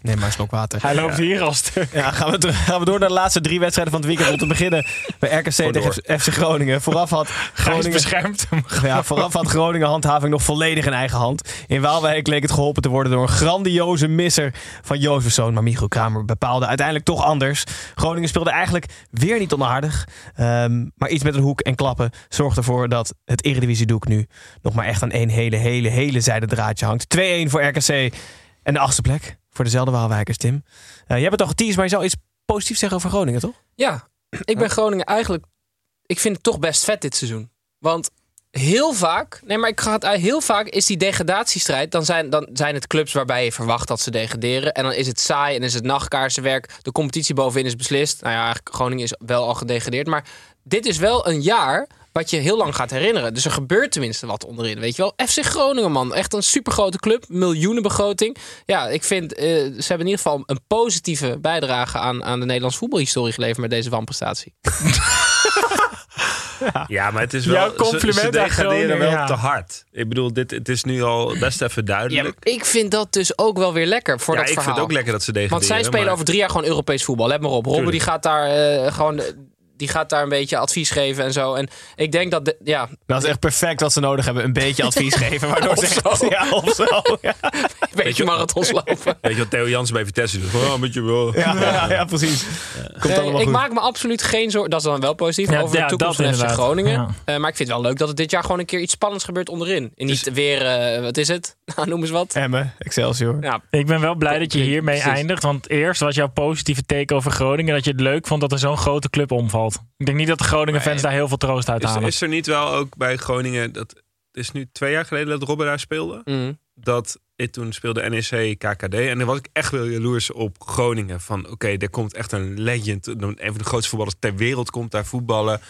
C: Neem maar een slok water.
H: Hij loopt hier al stuk.
C: Ja, gaan we, ter- gaan we door naar de laatste drie wedstrijden van het weekend. Om te beginnen bij RKC tegen
G: door.
C: FC Groningen. Vooraf had
H: Hij is
C: Groningen,
H: beschermd.
C: Nou ja, vooraf had Groningen handhaving nog volledig in eigen hand. In Waalwijk leek het geholpen te worden door een grandioze misser van Jozefzoon. Maar Michiel Kramer bepaalde uiteindelijk toch anders. Groningen speelde eigenlijk weer niet onaardig. Ehm, maar iets met een hoek en klappen zorgt ervoor dat het Eredivisie-doek nu nog maar echt aan één hele, hele, hele zijde draadje hangt. 2-1 voor RKC en de achtste plek voor dezelfde Waalwijkers, Tim. Eh, jij hebt het al geteased, maar je zou iets positiefs zeggen over Groningen, toch?
E: Ja, ik ben Groningen eigenlijk. Ik vind het toch best vet dit seizoen. Want heel vaak. Nee, maar ik ga het uit. Heel vaak is die degradatiestrijd. Dan zijn, dan zijn het clubs waarbij je verwacht dat ze degraderen. En dan is het saai en is het nachtkaarsenwerk. De competitie bovenin is beslist. Nou ja, eigenlijk Groningen is wel al gedegradeerd. Maar dit is wel een jaar. Wat je heel lang gaat herinneren. Dus er gebeurt tenminste wat onderin. Weet je wel? FC Groningen, man. Echt een supergrote club. Miljoenenbegroting. Ja, ik vind. eh, ze hebben in ieder geval een positieve bijdrage aan, aan de Nederlandse voetbalhistorie geleverd. met deze wanprestatie.
G: Ja, maar het is
H: Jouw
G: wel... ze-
H: compliment
G: ze,
H: aan Groningen,
G: degraderen wel
H: ja.
G: te hard. Ik bedoel, dit, het is nu al best even
E: Ja,
G: duidelijk.
E: maar ik vind dat dus ook wel weer lekker voor
G: Ja, ik
E: dat verhaal.
G: vind het ook lekker dat ze degraderen.
E: Want zij spelen
G: maar-
E: over drie jaar gewoon Europees voetbal. Let maar op. Robben die
G: Tuurlijk.
E: gaat daar eh, gewoon. eh, Die gaat daar een beetje advies geven en zo. En ik denk dat. de- ja,
C: Dat is echt perfect wat ze nodig hebben. Een beetje advies geven. Waardoor
E: Of
C: ze
E: zo.
C: Ja, of zo. Ja,
E: een beetje marathons lopen.
G: Weet je wat Theo Jansen bij Vitesse doet? Gewoon, Oh, met je wel.
C: ja, ja, ja, precies. Komt
E: Nee,
C: allemaal
E: ik
C: goed.
E: maak me absoluut geen zorgen. Dat is dan wel positief
H: Ja,
E: over
H: ja,
E: de toekomst
H: dat
E: van FC
H: inderdaad.
E: Groningen.
H: Ja.
E: Eh, maar ik vind het wel leuk dat het dit jaar gewoon een keer iets spannends gebeurt onderin. En
G: Dus-
E: niet weer, eh, wat is het? Nou, noem eens wat.
C: Emmen, Excelsior.
E: Ja,
H: Ik ben wel blij dat je hiermee
E: Precies.
H: eindigt. Want eerst was jouw positieve take over Groningen. Dat je het leuk vond dat er zo'n grote club omvalt. Ik denk niet dat de Groningen fans daar heel veel troost uit
G: Is,
H: halen.
G: is er niet wel ook bij Groningen... Dat, het is nu twee jaar geleden dat Robben daar speelde.
E: Mm.
G: Dat ik toen speelde E NEC KKD. En dan was ik echt wel jaloers op Groningen. Van oké, er komt echt een legend. Een van de grootste voetballers ter wereld komt daar voetballen.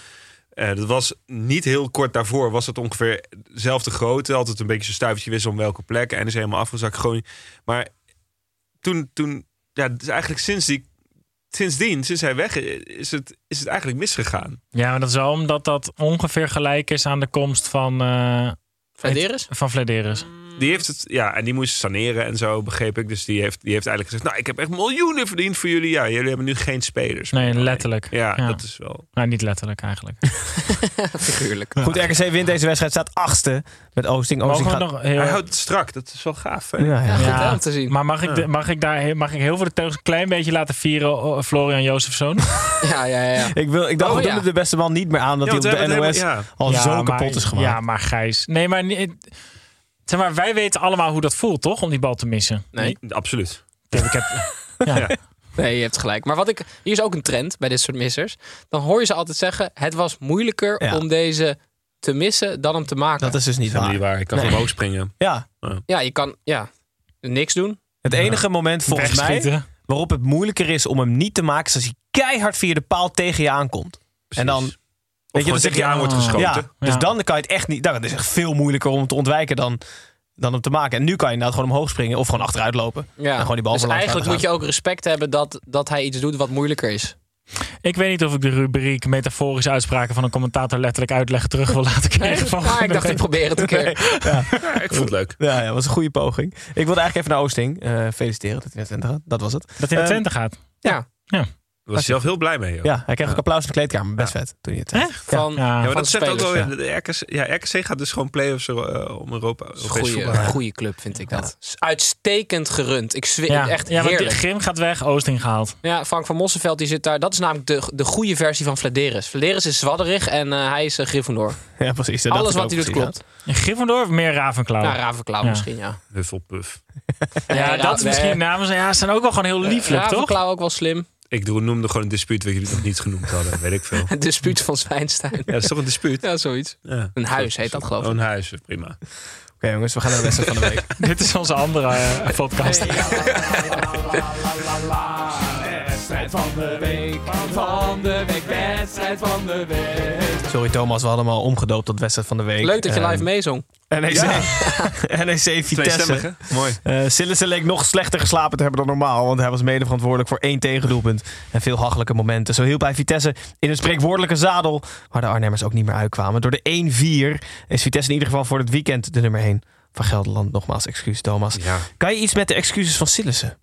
G: Eh, dat was niet heel kort daarvoor. Was het ongeveer dezelfde grootte. Altijd een beetje zo'n stuivertje wist om welke plek. En is helemaal afgezakt. Groningen. Maar toen, toen ja, dus eigenlijk sinds die, sindsdien, sinds hij weg is, is het, is het eigenlijk misgegaan.
H: Ja, maar dat is wel omdat dat ongeveer gelijk is aan de komst van, eh
E: Verderes?
H: van Vladeris.
G: Die die heeft het, ja, en die moest saneren en zo, begreep ik. Dus die heeft, die heeft eigenlijk gezegd, nou, ik heb echt miljoenen verdiend voor jullie. Ja, jullie hebben nu geen spelers.
H: Nee, letterlijk.
G: Ja, dat is wel... oh,
H: Nou, niet letterlijk eigenlijk.
E: Figuurlijk.
C: Goed, RKC wint deze wedstrijd, staat achtste met Oosting. Oosting
H: Mogen we
C: gaat...
H: nog heel...
G: Hij houdt het strak, dat is wel gaaf. Hè?
C: Ja, ja.
E: Goed
H: Ja.
E: hè, om te zien.
H: Maar mag ik, de- mag ik, daar, heel- mag ik heel veel de teugels een klein beetje laten vieren oh, Florian Jozefzoon?
E: Ja, ja, ja.
C: Ik, wil, ik dacht,
E: Oh,
C: we doen
E: ja.
C: het de beste man niet meer aan dat
G: Ja, want
C: hij op
G: we
C: de
G: hebben het
C: NOS
G: helemaal- ja.
C: al
H: Ja,
C: zo
H: maar-
C: kapot is gemaakt.
H: Ja, maar Gijs. Nee, maar, niet- het- zeg maar wij weten allemaal hoe dat voelt, toch? Om die bal te missen.
E: Nee.
G: Absoluut.
H: Ik heb, ja.
G: Ja.
E: Nee, je hebt gelijk. Maar wat ik, hier is ook een trend bij dit soort missers. Dan hoor je ze altijd zeggen: het was moeilijker
C: Ja.
E: om deze te missen dan hem te maken.
C: Dat is dus niet
G: Dat is
C: waar.
G: niet waar, ik kan
C: Nee.
G: omhoog springen.
C: Ja,
E: Ja, je kan ja, niks doen.
C: het enige moment volgens mij
H: Wegschieten.
C: waarop het moeilijker is om hem niet te maken... is als hij keihard via de paal tegen je aankomt. En dan,
G: Precies. Of
C: weet je,
G: gewoon
C: dan zeg
G: tegen
C: je
G: je aan wordt geschoten.
C: Ja, dus
H: Ja.
C: dan kan je het echt niet. nou, Dat is echt veel moeilijker om te ontwijken dan, dan hem te maken. En nu kan je inderdaad gewoon omhoog springen of gewoon achteruit lopen.
E: Ja.
C: En gewoon die bal
E: dus
C: voor langs
E: eigenlijk moet
C: laten
E: je ook respect hebben dat, dat hij iets doet wat moeilijker is.
H: Ik weet niet of ik de rubriek metaforische uitspraken van een commentator letterlijk uitleggen terug wil laten krijgen. van
E: maar ik dacht, ik
H: volgende
E: probeer het een keer.
G: Ja, ik vond het leuk.
C: gaan. Ja, ja, dat was een goede poging. Ik wilde eigenlijk even naar Oosting eh, feliciteren dat hij naar Twente gaat. Dat was het.
H: week. dat hij naar
C: Ehm,
H: Twente gaat.
G: Daar was je zelf heel blij mee. Joh.
C: Ja, hij kreeg ook applaus in de kleedkamer. Best vet toen hij het zei. Ja.
E: Van,
H: Ja, maar
G: Ja,
E: van
G: maar dat zegt ook
E: spelers.
G: wel. Ja. De RKC, ja, RKC gaat dus gewoon play-offs eh, om Europa.
E: Dat is een
G: Europees voetbal.
E: goede, goede club, vind ik dat. Is Uitstekend gerund. Ik zweer
H: Ja,
E: echt
H: ja want die-
E: heerlijk.
H: Grim gaat weg, Oosting gehaald.
E: Ja, Frank van Mossenveld die zit daar. Dat is namelijk de, de goede versie van Vladeris. Vladeris is zwadderig en eh, hij is eh, Gryffindor.
C: Ja, precies. dat dacht
E: Alles
C: ik
E: wat hij
C: ook
E: doet
C: precies,
E: klopt.
H: En Gryffindor of meer Ravenclaw?
E: Nou, Ravenklauw
H: Ja.
E: misschien, ja.
G: Oh. Hufflepuff.
H: ja,
E: Nee, Eh, Ra-
H: dat is misschien
E: nee.
H: namens. Ja, ze zijn ook wel gewoon heel lieflijk, toch?
E: Ravenklauw ook wel slim.
G: Ik doe- noemde gewoon een dispuut wat jullie nog niet genoemd hadden. Weet ik veel. Ja,
E: Het dispuut van Zwijnstein.
G: dat is toch een dispuut?
E: Ja, zoiets.
G: Ja.
E: Een huis heet dat, geloof ik.
G: Oh, een huis, prima.
C: ja. Oké jongens, we gaan naar de wedstrijd van de week.
H: Dit is onze andere eh, podcast.
J: Wedstrijd van de week, van de week, wedstrijd van de week.
C: Sorry Thomas, we hadden hem al omgedoopt tot wedstrijd van de week.
E: Leuk dat je
G: ehm,
C: Eh,
E: live meezong.
C: NEC, NEC E Vitesse.
G: Tweestemmig, hè? Mooi.
C: Eh Sillissen leek nog slechter geslapen te hebben dan normaal, want hij was mede verantwoordelijk voor één tegendoelpunt en veel hachelijke momenten. Zo hielp hij Vitesse in een spreekwoordelijke zadel, waar de Arnhemmers ook niet meer uitkwamen. Door de 1-4 is Vitesse in ieder geval voor het weekend de nummer 1 van Gelderland. Nogmaals, excuus Thomas.
G: Ja.
C: Kan je iets met de excuses van Sillissen?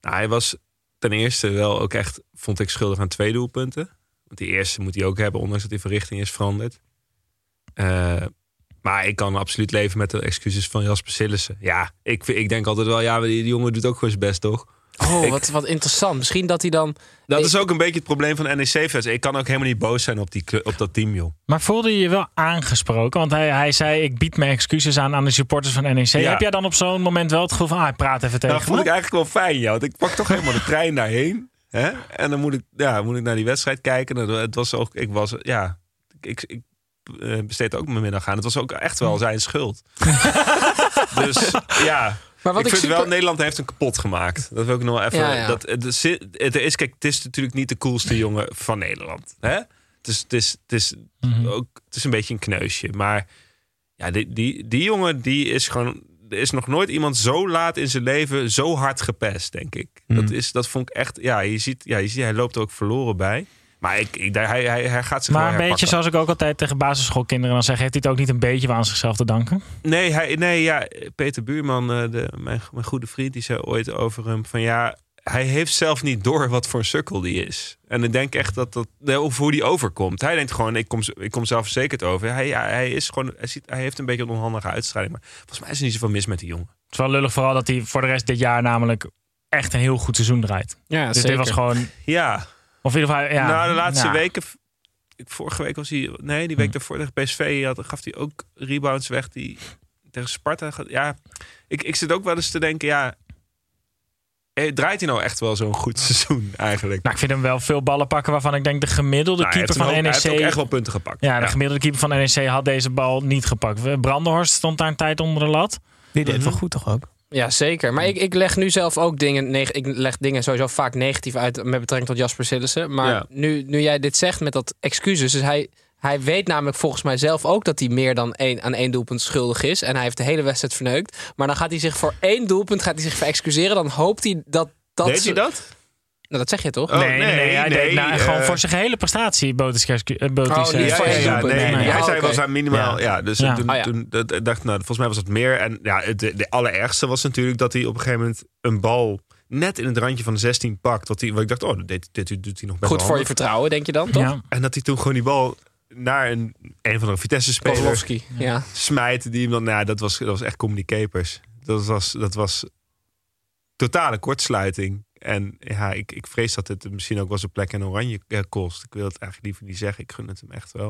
G: Nou, hij was ten eerste wel ook echt, vond ik, schuldig aan twee doelpunten. Want die eerste moet hij ook hebben, ondanks dat hij van richting is veranderd. Eh, maar ik kan absoluut leven met de excuses van Jasper Sillissen. Ja, ik, ik denk altijd wel, ja, maar die, die jongen doet ook gewoon zijn best, toch?
E: Oh,
G: Ik-
E: wat, wat interessant. Misschien dat hij dan...
G: Dat
E: Ik-
G: is ook een beetje het probleem van NEC-fans. Ik kan ook helemaal niet boos zijn op, die, clu- op dat team, joh.
H: Maar voelde je je wel aangesproken? Want hij, hij zei, ik bied mijn excuses aan aan de supporters van NEC.
G: Ja.
H: Heb jij dan op zo'n moment wel het gevoel van, ah, ik praat even tegen
G: Nou, vond
H: me?
G: ik eigenlijk wel fijn, ja. Want ik pak toch helemaal de trein daarheen. Hè? En dan moet ik, ja, moet ik naar die wedstrijd kijken. En het was ook, ik was, ja, ik, ik eh, besteed ook mijn middag aan. Het was ook echt
E: Hm.
G: wel zijn schuld. dus ja.
E: Maar
G: ik,
E: wat ik,
G: vind
E: super...
G: wel, Nederland heeft hem kapot gemaakt. Dat wil ik nog wel even.
E: Ja, ja.
G: Dat, het, is, het is, kijk, het is natuurlijk niet de coolste jongen van Nederland. Hè? Het, is, het, is, het, is ook, het is een beetje een kneusje. Maar ja, die, die, die jongen die is gewoon. Er is nog nooit iemand zo laat in zijn leven zo hard gepest, denk ik. Dat, is, dat vond ik echt. Ja, je ziet, ja, je ziet hij loopt er ook verloren bij. Maar ik, ik, daar- hij, hij, hij gaat zich
H: Maar
G: wel
H: een beetje
G: herpakken.
H: zoals ik ook altijd tegen basisschoolkinderen dan zeg, heeft hij het ook niet een beetje wel aan zichzelf te danken?
G: Nee, hij, nee ja, Peter Buurman, eh, de, mijn, mijn goede vriend, die zei ooit over hem van ja, hij heeft zelf niet door wat voor een sukkel die is. En ik denk echt dat dat, nee, of hoe die overkomt. Hij denkt gewoon, ik kom, z- ik kom zelfverzekerd over. Hij, hij, hij is gewoon, hij, ziet, hij heeft een beetje een onhandige uitstraling. Maar volgens mij is er niet zoveel mis met die jongen.
H: Het is wel lullig vooral dat hij voor de rest dit jaar namelijk echt een heel goed seizoen draait.
E: Ja,
H: dus dit was gewoon...
G: Ja,
H: Of in ieder geval, ja,
G: nou de laatste
H: ja.
G: weken, ik- vorige week was hij, nee, die week daarvoor tegen PSV had, gaf hij ook rebounds weg die tegen Sparta. gaat- Ja, ik, ik zit ook wel eens te denken, ja. eh, Draait hij nou echt wel zo'n goed seizoen eigenlijk?
H: Nou, ik vind hem wel veel ballen pakken waarvan ik denk de gemiddelde
G: Nou, hij
H: keeper
G: heeft
H: van
G: hem ook-
H: NEC...
G: Hij heeft ook echt wel punten gepakt.
H: Ja, de gemiddelde keeper van NEC had deze bal niet gepakt. Brandenhorst stond daar een tijd onder de lat.
C: Die deed het wel goed toch ook?
E: Ja, zeker. Maar ik, ik leg nu zelf ook dingen... neg- ik leg dingen sowieso vaak negatief uit met betrekking tot Jasper Sillissen. Maar
G: Ja.
E: nu, nu jij dit zegt met dat excuses... Dus hij, hij weet namelijk volgens mij zelf ook dat hij meer dan één, aan één doelpunt schuldig is. En hij heeft de hele wedstrijd verneukt. Maar dan gaat hij zich voor één doelpunt gaat hij zich verexcuseren. Dan hoopt hij dat... dat
G: Deed hij dat?
E: Nou, dat zeg je toch?
H: nee, nee, Oh, nee, hij deed nou,
G: Oh, eh,
H: gewoon voor zijn gehele prestatie Botiskerski. Uh, Botis,
E: Oh, niet
H: eh,
G: Ja,
E: voor
G: ja,
E: één
G: ja,
E: doelpunt.
G: nee,
E: Nee,
G: nee,
E: ja,
G: hij zei
E: Ah, oké.
G: wel zijn minimaal.
H: Ja.
G: Ja, dus
H: Ja.
G: toen,
E: Ah, ja.
G: toen dat, ik dacht nou, volgens mij was het meer. En ja, het de, de allerergste was natuurlijk dat hij op een gegeven moment een bal net in het randje van de 16 pakt. Dat hij, wat ik dacht, oh, dit, dit, dit doet hij nog best
E: Goed
G: wel
E: voor je
G: handig.
E: vertrouwen, denk je dan, toch?
H: ja.
G: En dat hij toen gewoon die bal naar een, een van de Vitesse-spelers
E: Pavlovski. Ja.
G: smijt. Die hem dan, nou, ja, dat was, dat was echt communicapers. Dat was, dat was totale kortsluiting. En ja, ik, ik vrees dat het misschien ook wel zijn plek in Oranje eh, kost. Ik wil het eigenlijk liever niet zeggen. Ik gun het hem echt wel.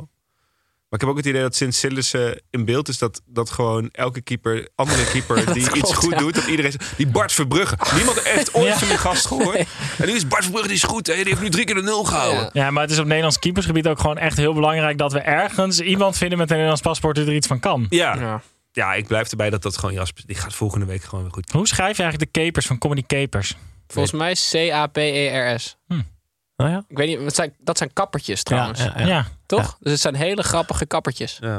G: Maar ik heb ook het idee dat sinds Sillissen in beeld is... dat, dat gewoon elke keeper, andere keeper die
E: klopt,
G: iets goed
E: ja.
G: doet... dat iedereen... zegt, Die Bart Verbrugge. Niemand heeft ooit van die gast gehoord. En nu is Bart Verbrugge, die is goed. Hè? Die heeft nu drie keer de nul gehouden.
E: Ja.
H: Ja, maar het is op Nederlands keepersgebied ook gewoon echt heel belangrijk dat we ergens iemand vinden met een Nederlands paspoort die er iets van kan.
G: Ja. ja.
E: Ja.
G: ik blijf erbij dat dat gewoon Jasper... Die gaat volgende week gewoon weer goed.
H: Hoe schrijf je eigenlijk de capers van Comedy Capers?
E: Volgens mij C-A-P-E-R-S.
H: Oh ja.
E: E Ik weet niet, dat zijn, dat zijn kappertjes trouwens.
H: Ja, ja.
E: Toch? Dus het zijn hele grappige kappertjes.
G: Ja.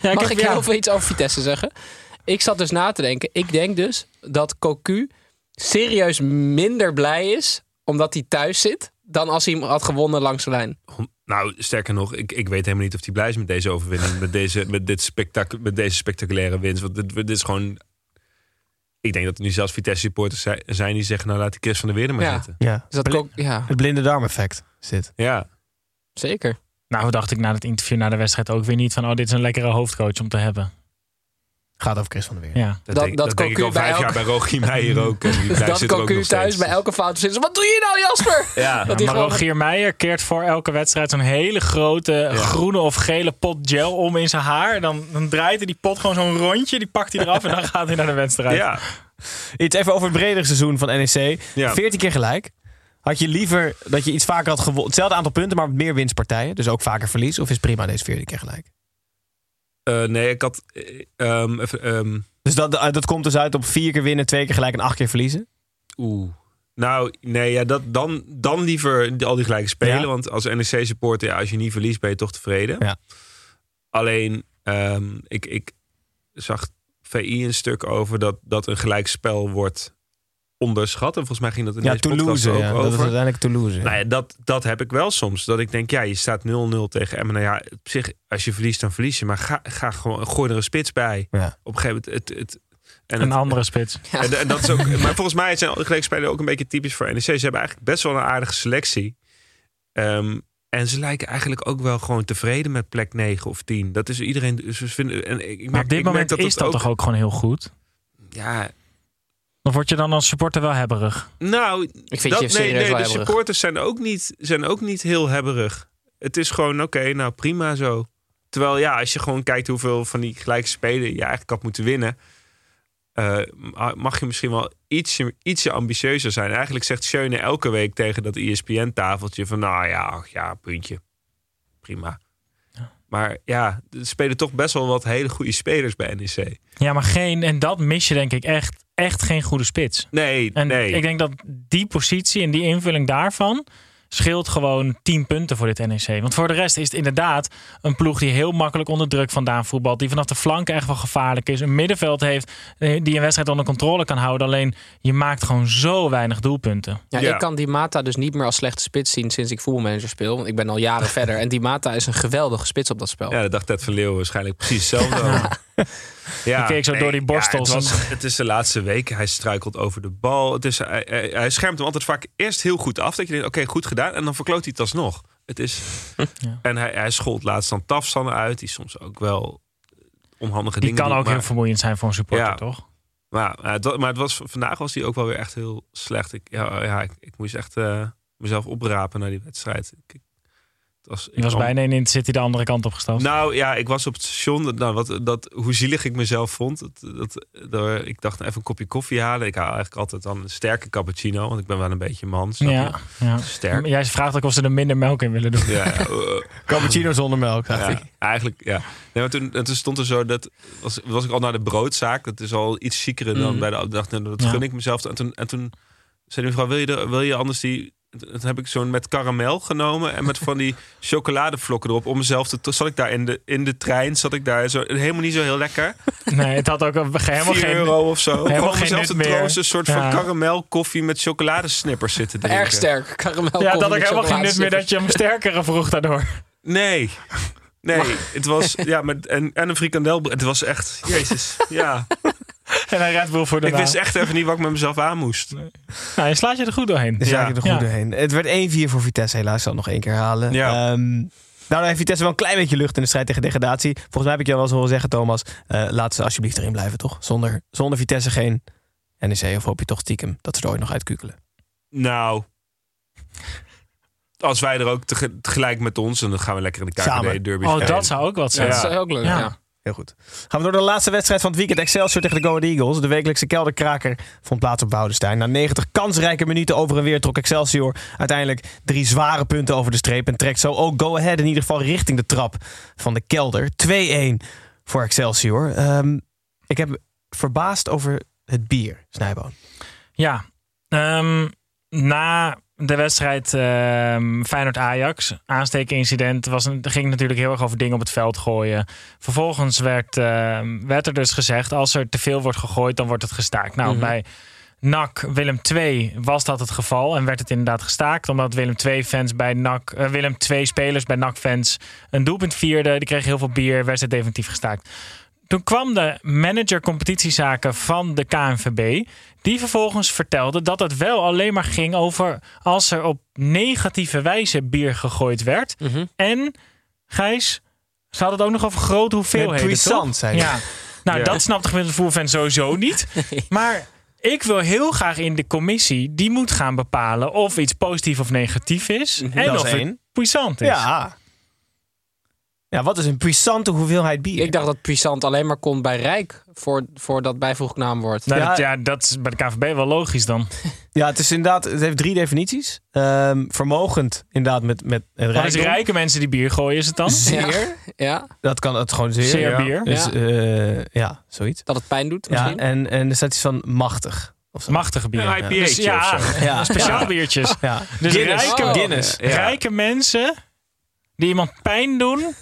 H: ik
E: Mag
H: heb
E: ik
H: jou-
E: heel veel iets over Vitesse zeggen? Ik zat dus na te denken. Ik denk dus dat Cocu serieus minder blij is omdat hij thuis zit dan als hij hem had gewonnen langs de lijn.
G: Hon- Nou, sterker nog, ik, ik weet helemaal niet of hij blij is met deze overwinning. Met deze, met dit spectac met deze spectaculaire winst. Want dit, dit is gewoon... Ik denk dat er nu zelfs Vitesse-supporters zi- zijn die zeggen... Nou, laat die Chris van der Weerden maar
E: Ja.
G: zitten.
C: Ja.
E: Dus dat
C: Bli-
E: Cocu- ja,
C: Het blinde darmeffect zit.
G: Ja.
E: zeker.
H: Nou, dacht ik na het interview na de wedstrijd ook weer niet van, oh, dit is een lekkere hoofdcoach om te hebben.
C: Gaat over Chris van der Weer.
H: Ja.
G: Dat,
E: Dat-
G: denk,
E: dat
G: dat denk ik
E: Cocu
G: al vijf
E: bij
G: jaar bij Rogier Meijer ook. En die blij
E: Dat
G: zit er ook
E: Cocu
G: nog
E: thuis
G: steeds.
E: bij elke fout zit. Wat doe je nou, Jasper?
G: Ja.
E: Dat
H: Ja,
E: hij
H: maar
E: gewoon-
H: Rogier Meijer keert voor elke wedstrijd zo'n hele grote groene of gele pot gel om in zijn haar. Dan, dan draait hij die pot gewoon zo'n rondje, die pakt hij eraf en dan gaat hij naar de wedstrijd.
G: Ja.
C: Iets even over het bredere seizoen van NEC.
G: Ja.
C: 14 keer gelijk. Had je liever dat je iets vaker had gewonnen? Hetzelfde aantal punten, maar met meer winstpartijen. Dus ook vaker verlies. Of is prima deze 14 keer gelijk?
G: Eh, nee, ik had... eh, ehm, even, ehm,
C: Dus dat, eh, dat komt dus uit op vier keer winnen, twee keer gelijk en acht keer verliezen.
G: Oeh. Nou, nee, ja, dat, dan, dan liever die- al die gelijke spelen.
C: Ja.
G: Want als NEC-supporter, ja, als je niet verliest, ben je toch tevreden.
C: Ja.
G: Alleen, ehm, ik, ik zag VI een stuk over dat, dat een gelijkspel wordt onderschat. En volgens mij ging dat in
C: Ja,
G: deze podcast
C: Toulouse.
G: er ook
C: Ja, dat is
G: over.
C: uiteindelijk Toulouse. ja.
G: Nou ja, dat, dat heb ik wel soms. Dat ik denk, ja, je staat 0-0 tegen Emmen. Nou ja, op zich, als je verliest, dan verlies je. Maar ga, ga gewoon, gooi er een spits bij.
C: Ja.
G: Op een gegeven moment... Het, het, en
H: Een
G: het-
H: andere spits.
G: en, en dat is ook, maar volgens mij zijn gelijkspelers ook een beetje typisch voor NEC. Ze hebben eigenlijk best wel een aardige selectie. Ehm, en ze lijken eigenlijk ook wel gewoon tevreden met plek 9 of 10. Dat is iedereen. Dus ze vinden, en ik- ik merk,
H: Maar op dit
G: ik merk
H: moment
G: dat
H: is dat toch ook gewoon heel goed?
G: Ja,
H: Dan word je dan als supporter wel hebberig.
G: nou,
E: Ik vind
G: dat,
E: je
G: nee, nee,
E: serieus wel
G: de
E: hebberig.
G: supporters zijn ook, niet, zijn ook niet heel hebberig. Het is gewoon, oké, nou prima zo. Terwijl ja, als je gewoon kijkt hoeveel van die gelijke spelen je eigenlijk had moeten winnen. eh, ma- mag je misschien wel ietsje, ietsje ambitieuzer zijn. Eigenlijk zegt Schöne elke week tegen dat E ESPN-tafeltje van... nou ja, ach ja, puntje. Prima. Maar ja, er spelen toch best wel wat hele goede spelers bij E NEC.
H: Ja, maar geen, en dat mis je denk ik echt, echt geen goede spits.
G: Nee,
H: En
G: nee.
H: ik denk dat die positie en die invulling daarvan scheelt gewoon 10 punten voor dit NEC. Want voor de rest is het inderdaad een ploeg die heel makkelijk onder druk vandaan voetbalt. Die vanaf de flank echt wel gevaarlijk is. Een middenveld heeft eh, die een wedstrijd onder controle kan houden. Alleen je maakt gewoon zo weinig doelpunten.
E: Ja,
G: Ja.
E: Ik kan die Mata dus niet meer als slechte spits zien sinds ik voetbalmanager speel. Want ik ben al jaren verder. En die Mata is een geweldige spits op dat spel.
G: Ja, dat dacht Ted van Leeuwen waarschijnlijk precies hetzelfde. over. ja,
H: Die keek zo door die borstels.
G: het, was- het is de laatste weken. Hij struikelt over de bal. Het is, hij, hij, hij schermt hem altijd vaak eerst heel goed af. Dat je denkt, oké, goed gedaan. En dan verkloot hij het alsnog. Het is, En hij, hij schold laatst dan Tafsan uit. Die soms ook wel eh, onhandige
H: Die
G: dingen
H: kan
G: doet,
H: ook
G: maar,
H: heel vermoeiend zijn voor een supporter,
G: Ja.
H: toch?
G: Maar, maar, het, wa- maar het was, vandaag was hij ook wel weer echt heel slecht. Ik, ja, ja, ik, ik moest echt eh, mezelf oprapen naar die wedstrijd. Ik, ik- het was, ik
H: Die was
G: kwam-
H: bijna in City de andere kant opgestapt.
G: nou ja, ik was op het station. dat- Nou, wat, dat, hoe zielig ik mezelf vond. Dat, dat, daar- ik dacht even een kopje koffie halen. Ik haal eigenlijk altijd dan een sterke cappuccino. Want ik ben wel een beetje man. Snap
H: ja, ja.
G: je? Sterk.
H: Jij vraagt ook of ze er minder melk in willen doen.
G: Ja, ja, eh,
C: Cappuccino zonder melk, dacht
G: ja,
C: ik.
G: eigenlijk, ja. Nee, maar toen, en toen stond er zo, dat was, was ik al naar de broodzaak. Dat is al iets zieker dan bij de dacht, nou, dat
H: Ja.
G: gun ik mezelf. En toen, en toen zei die mevrouw, wil je, er, wil je anders die dat heb ik zo'n met karamel genomen en met van die chocoladevlokken erop om mezelf te... Toen zat ik daar in de, in de trein, zat ik daar zo, helemaal niet zo heel lekker.
H: Nee, het had ook een- helemaal
G: 4
H: geen...
G: euro of zo.
H: Helemaal
G: Gewoon
H: geen
G: mezelf te
H: nut meer.
G: troosten, een soort
H: Ja.
G: van karamelkoffie met chocoladesnippers zitten drinken.
E: Erg sterk. Karamel
H: Ja, dat ik helemaal geen nut meer dat je hem sterkere vroeg daardoor.
G: Nee. Nee, het was... Ja, met, en, en een frikandel. Het was echt... Jezus, ja.
H: En een Red Bull voor de
G: Ik wist echt even niet wat ik met mezelf aan moest.
H: Nou, je slaat je er goed doorheen.
C: Dus ja.
H: Ja.
C: je er goed
H: Ja.
C: doorheen. Het werd 1-4 voor Vitesse, helaas. Ik zal het nog één keer halen.
G: Ja.
C: Ehm, daardoor heeft Vitesse wel een klein beetje lucht in de strijd tegen degradatie. Volgens mij heb ik jou wel eens horen zeggen, Thomas. eh, laat ze alsjeblieft erin blijven, toch? Zonder, zonder Vitesse geen NEC. Of hoop je toch stiekem dat ze er ooit nog uitkukelen?
G: Nou. Als wij er ook tege- tegelijk met ons... en dan gaan we lekker in de
C: Samen.
G: KKD-derby
H: Oh, dat zou ook wat zijn.
E: Dat is ook leuk,
H: Ja.
E: ja.
C: Heel goed. Gaan we door de laatste wedstrijd van het weekend. Excelsior tegen de Go Ahead Eagles. De wekelijkse kelderkraker vond plaats op Boudestein. Na 90 kansrijke minuten over en weer trok Excelsior uiteindelijk drie zware punten over de streep. En trekt zo ook Go Ahead in ieder geval richting de trap van de kelder. 2-1 voor Excelsior. Ehm, ik heb verbaasd over het bier, Snijboon.
H: Ja. Ehm, na de wedstrijd ehm, Feyenoord-Ajax, aanstekenincident, was een, ging natuurlijk heel erg over dingen op het veld gooien. Vervolgens werd, ehm, werd er dus gezegd, als er te veel wordt gegooid, dan wordt het gestaakt. Nou, bij NAC Willem II was dat het geval en werd het inderdaad gestaakt. Omdat Willem II-fans bij NAC, eh, Willem II-spelers bij NAC-fans een doelpunt vierden. Die kregen heel veel bier, werd het definitief gestaakt. Toen kwam de manager competitiezaken van de KNVB. Die vervolgens vertelde dat het wel alleen maar ging over als er op negatieve wijze bier gegooid werd. En Gijs, ze hadden het ook nog over grote hoeveelheden.
C: puissant,
H: toch?
C: zei ze.
H: Ja. Nou,
G: Ja.
H: dat snapt de gemiddelde voerfan sowieso niet. Maar ik wil heel graag in de commissie die moet gaan bepalen of iets positief of negatief is. En
C: Dat is
H: of het
C: één.
H: puissant is.
C: Ja. Ja, wat is een puissante hoeveelheid bier?
E: Ik dacht dat puissant alleen maar kon bij Rijk. Voor, voor dat bijvoeglijk naamwoord.
H: Nou,
C: Ja.
H: Dat, ja, dat is bij de KVB wel logisch dan.
C: Ja, het is inderdaad, het heeft drie definities. Ehm, vermogend, inderdaad, met, met een
H: Als
C: rijkdom.
H: rijke mensen die bier gooien, is het dan?
E: Zeer. Ja.
C: Dat kan het gewoon zeer.
H: Zeer
C: ja.
H: bier.
C: Dus,
E: Ja.
C: eh, ja, zoiets.
E: Dat het pijn doet
C: Ja,
E: misschien.
C: en, en de staat iets van machtig. Of zo.
H: Machtige bier.
G: Een IPA'tje
H: Dus ja,
G: of
C: Ja.
H: speciaal biertjes.
C: Ja.
H: Dus
C: Guinness.
H: rijke,
E: Oh.
C: Guinness.
G: Ja.
H: rijke mensen die iemand pijn doen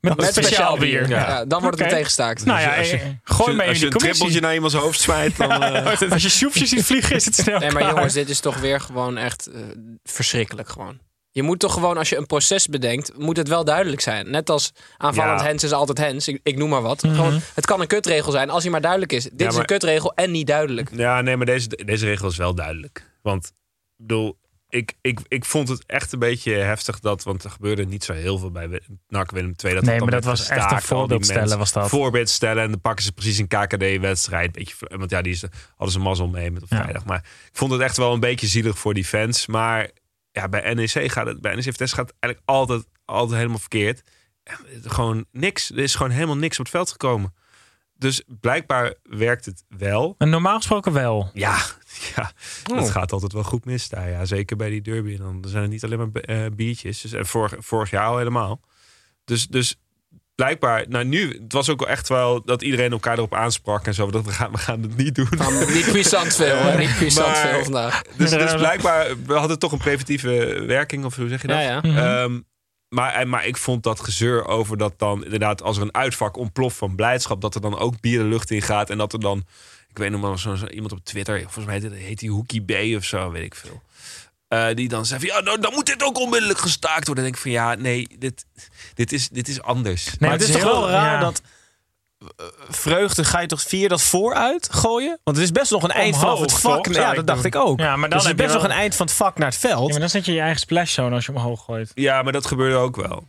H: met, speciaal bier.
E: Ja. dan wordt het
H: Oké.
E: meteen gestaakt.
H: Nou ja, eh, gooi mee
G: Als
H: in
G: je
H: de
G: een trippeltje
H: commissie. Oh,
G: naar iemands hoofd smijt, dan... eh,
H: Als je soepjes ziet vliegen, is het snel
E: Nee, maar
H: klaar.
E: jongens, dit is toch weer gewoon echt eh, verschrikkelijk gewoon. Je moet toch gewoon, als je een proces bedenkt, moet het wel duidelijk zijn. Net als aanvallend
G: Ja.
E: hens is altijd hens, ik, ik noem maar wat. gewoon, het kan een kutregel zijn, als hij maar duidelijk is. Dit is
G: maar-
E: een kutregel en niet duidelijk.
G: Ja, nee, maar deze, deze regel is wel duidelijk. Want ik bedoel, ik, ik, ik vond het echt een beetje heftig dat, want er gebeurde niet zo heel veel bij Wi- NAC Willem II. Dat het
H: Nee,
G: dan
H: maar
G: werd
H: dat was echt
G: gestaakt,
H: een
G: al die
H: voorbeeld
G: mensen-
H: stellen was dat.
G: Voorbeeld stellen en dan pakken ze precies een KKD-wedstrijd. Beetje, vl- want ja, die is, hadden ze mazzel mee met op
H: Ja.
G: vrijdag. Maar ik vond het echt wel een beetje zielig voor die fans. Maar ja, bij NEC gaat het, bij NEC Vitesse gaat het eigenlijk altijd, altijd helemaal verkeerd. En het- Gewoon niks. Er is gewoon helemaal niks op het veld gekomen. Dus blijkbaar werkt het wel.
H: En normaal gesproken wel.
G: Ja, ja dat gaat altijd wel goed mis daar. Ja. Zeker bij die derby. En Dan zijn het niet alleen maar eh, biertjes. Dus, en vorig, vorig jaar al helemaal. Dus, dus blijkbaar, nou nu, het was ook wel echt wel dat iedereen elkaar erop aansprak en zo. Dat we gaan, we gaan het niet doen.
E: Nou, niet puissant veel, hè, niet puissant
G: maar-
E: veel vandaag.
G: Dus, dus blijkbaar we hadden toch een preventieve eh, werking, of hoe zeg je dat?
E: Ja, ja.
G: Ehm, maar, en- maar ik vond dat gezeur over dat dan inderdaad als er een uitvak ontploft van blijdschap, dat er dan ook bier de lucht in gaat en dat er dan, ik weet nog wel, zo, zo- iemand op Twitter, volgens mij heet, heet die Hoekie B of zo, weet ik veel. eh, die dan zei van, ja, nou, dan moet dit ook onmiddellijk gestaakt worden. Dan denk ik van, ja, nee, dit, dit, is, dit is anders.
H: Nee,
C: maar het is toch
H: heel-
C: wel raar
H: ja.
C: dat eh, vreugde ga je toch vier dat vooruit gooien? Want het is best nog een eind vanaf
H: Omhoog,
C: het vak.
H: toch? Zou
C: Ja,
H: ik
C: dat dacht
H: doen.
C: ik ook.
H: Ja, maar dan
C: dus het
H: heb
C: is best
H: je
C: nog
H: wel-
C: een eind van het vak naar het
H: Ja, maar
C: veld.
H: dan zet je je eigen splashzone als je omhoog gooit.
G: Ja, maar dat gebeurde ook wel.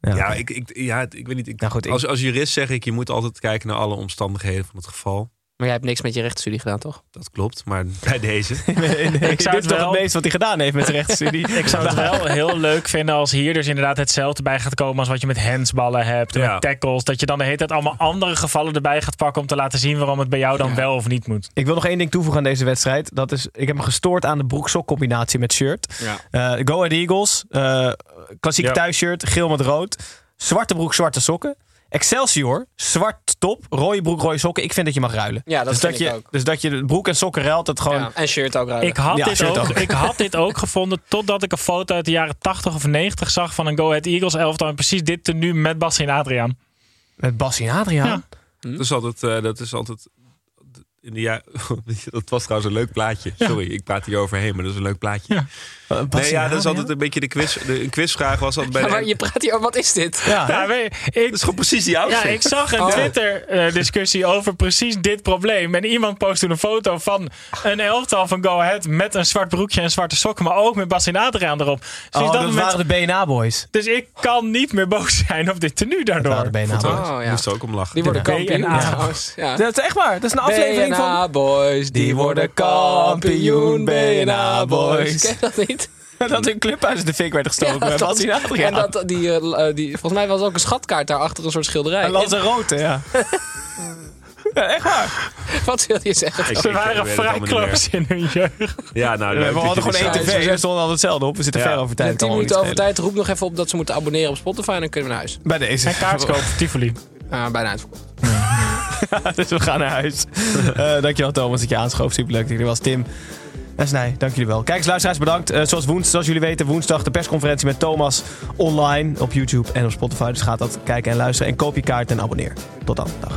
G: Ja,
C: oké.
G: ik, ik, ja het- ik weet niet. Ik,
C: Nou goed, ik-
G: als, als jurist zeg ik, je moet altijd kijken naar alle omstandigheden van het geval.
E: Maar jij hebt niks met je rechtenstudie gedaan, toch?
G: Dat klopt, maar bij deze.
C: ik
H: zou
C: zou
H: het
C: toch
H: wel-
C: het meest wat hij gedaan heeft met de rechtsstudie.
H: Ik zou het wel heel leuk vinden als hier dus inderdaad hetzelfde bij gaat komen als wat je met handsballen hebt, en
G: Ja.
H: met tackles. Dat je dan de hele tijd allemaal andere gevallen erbij gaat pakken om te laten zien waarom het bij jou dan wel of niet moet.
C: Ik wil nog één ding toevoegen aan deze wedstrijd. Dat is, ik heb me gestoord aan de broek combinatie met shirt.
E: Ja.
C: Eh, Go Ahead Eagles, eh klassiek
G: Ja.
C: thuisshirt, geel met rood. Zwarte broek, zwarte sokken. Excelsior, zwart top, rode broek, rode sokken. Ik vind dat je mag ruilen.
E: Ja, dat
C: dus
E: vind
C: dat
E: ik
C: je,
E: ook.
C: Dus dat je de broek en sokken ruilt, dat gewoon...
E: Ja, en shirt ook ruilen.
H: Ik had,
C: Ja,
H: dit
C: shirt
H: ook,
C: ook.
H: ik had dit ook gevonden totdat ik een foto uit de jaren 80 of 90 zag van een Go Ahead Eagles elftal. En precies dit tenue met Bassi en Adriaan.
C: Met Bassi en Adriaan?
H: Ja.
G: Dat is altijd. eh, dat is altijd in de ja, dat was trouwens een leuk plaatje. Sorry, ik praat hier overheen, maar dat is een leuk plaatje.
H: Ja.
C: Bassi
G: nee,
C: en
G: ja, dat is
C: Adriaan?
G: altijd een beetje de quiz. De, een quizvraag was altijd bij
E: Ja,
G: de.
E: maar je praat hier over, wat is dit?
C: Ja,
H: Ja, weet je, ik,
G: Dat is gewoon precies die outfit.
H: Ja, ik zag een
E: Oh.
H: Twitter-discussie over precies dit probleem. En iemand post toen een foto van een elftal van Go Ahead met een zwart broekje en zwarte sokken, maar ook met Bas en Adriaan erop. Dus,
C: Oh, dat,
H: op dat moment-
C: waren de BNA-boys.
H: dus ik kan niet meer boos zijn op dit tenue
C: Dat
H: daardoor.
C: waren de BNA-boys.
E: Oh
G: Ik
E: ja,
G: moest er ook om lachen.
E: die worden
H: de
E: kampioen
H: BNA.
E: trouwens. Ja.
C: Dat is echt waar. Dat is een aflevering van...
E: BNA boys, die worden kampioen. BNA boys. Ken je dat niet?
C: dat hun clubhuis in de fik werd gestoken
E: Ja,
C: met
E: dat-
C: Bassi en Adriaan.
E: En dat, die, eh, eh, die, volgens mij was ook een schatkaart daarachter een soort schilderij.
C: En Lanzarote, ja. ja. Echt waar.
E: Wat wil je zeggen?
G: Ik-
H: Ze
G: ik weet
H: waren
G: het
H: vrij
G: allemaal niet meer.
H: close in hun jeugd.
G: Ja, nou,
C: We
G: leuk dat
C: hadden
G: jullie
C: gewoon één
G: zijn.
E: zijn.
C: tv en stond al hetzelfde op. We zitten
G: Ja.
C: ver over tijd.
E: En
C: kan
E: 10
C: allemaal
E: minuten
C: niet
E: over
C: schelen.
E: tijd. Roep nog even op dat ze moeten abonneren op Spotify en dan kunnen we naar huis.
C: Bij deze.
H: En kaartskoop voor Tivoli.
E: Ah, bijna uitverkocht.
C: dus we gaan naar huis. Eh dankjewel Thomas dat je aanschoof. Superleuk dat je er was. Tim en Snij, dank jullie wel. Kijkers, luisteraars, bedankt. Eh, zoals, woens, zoals jullie weten, woensdag de persconferentie met Thomas online op YouTube en op Spotify. Dus ga dat kijken en luisteren. En koop je kaart en abonneer. Tot dan. Dag.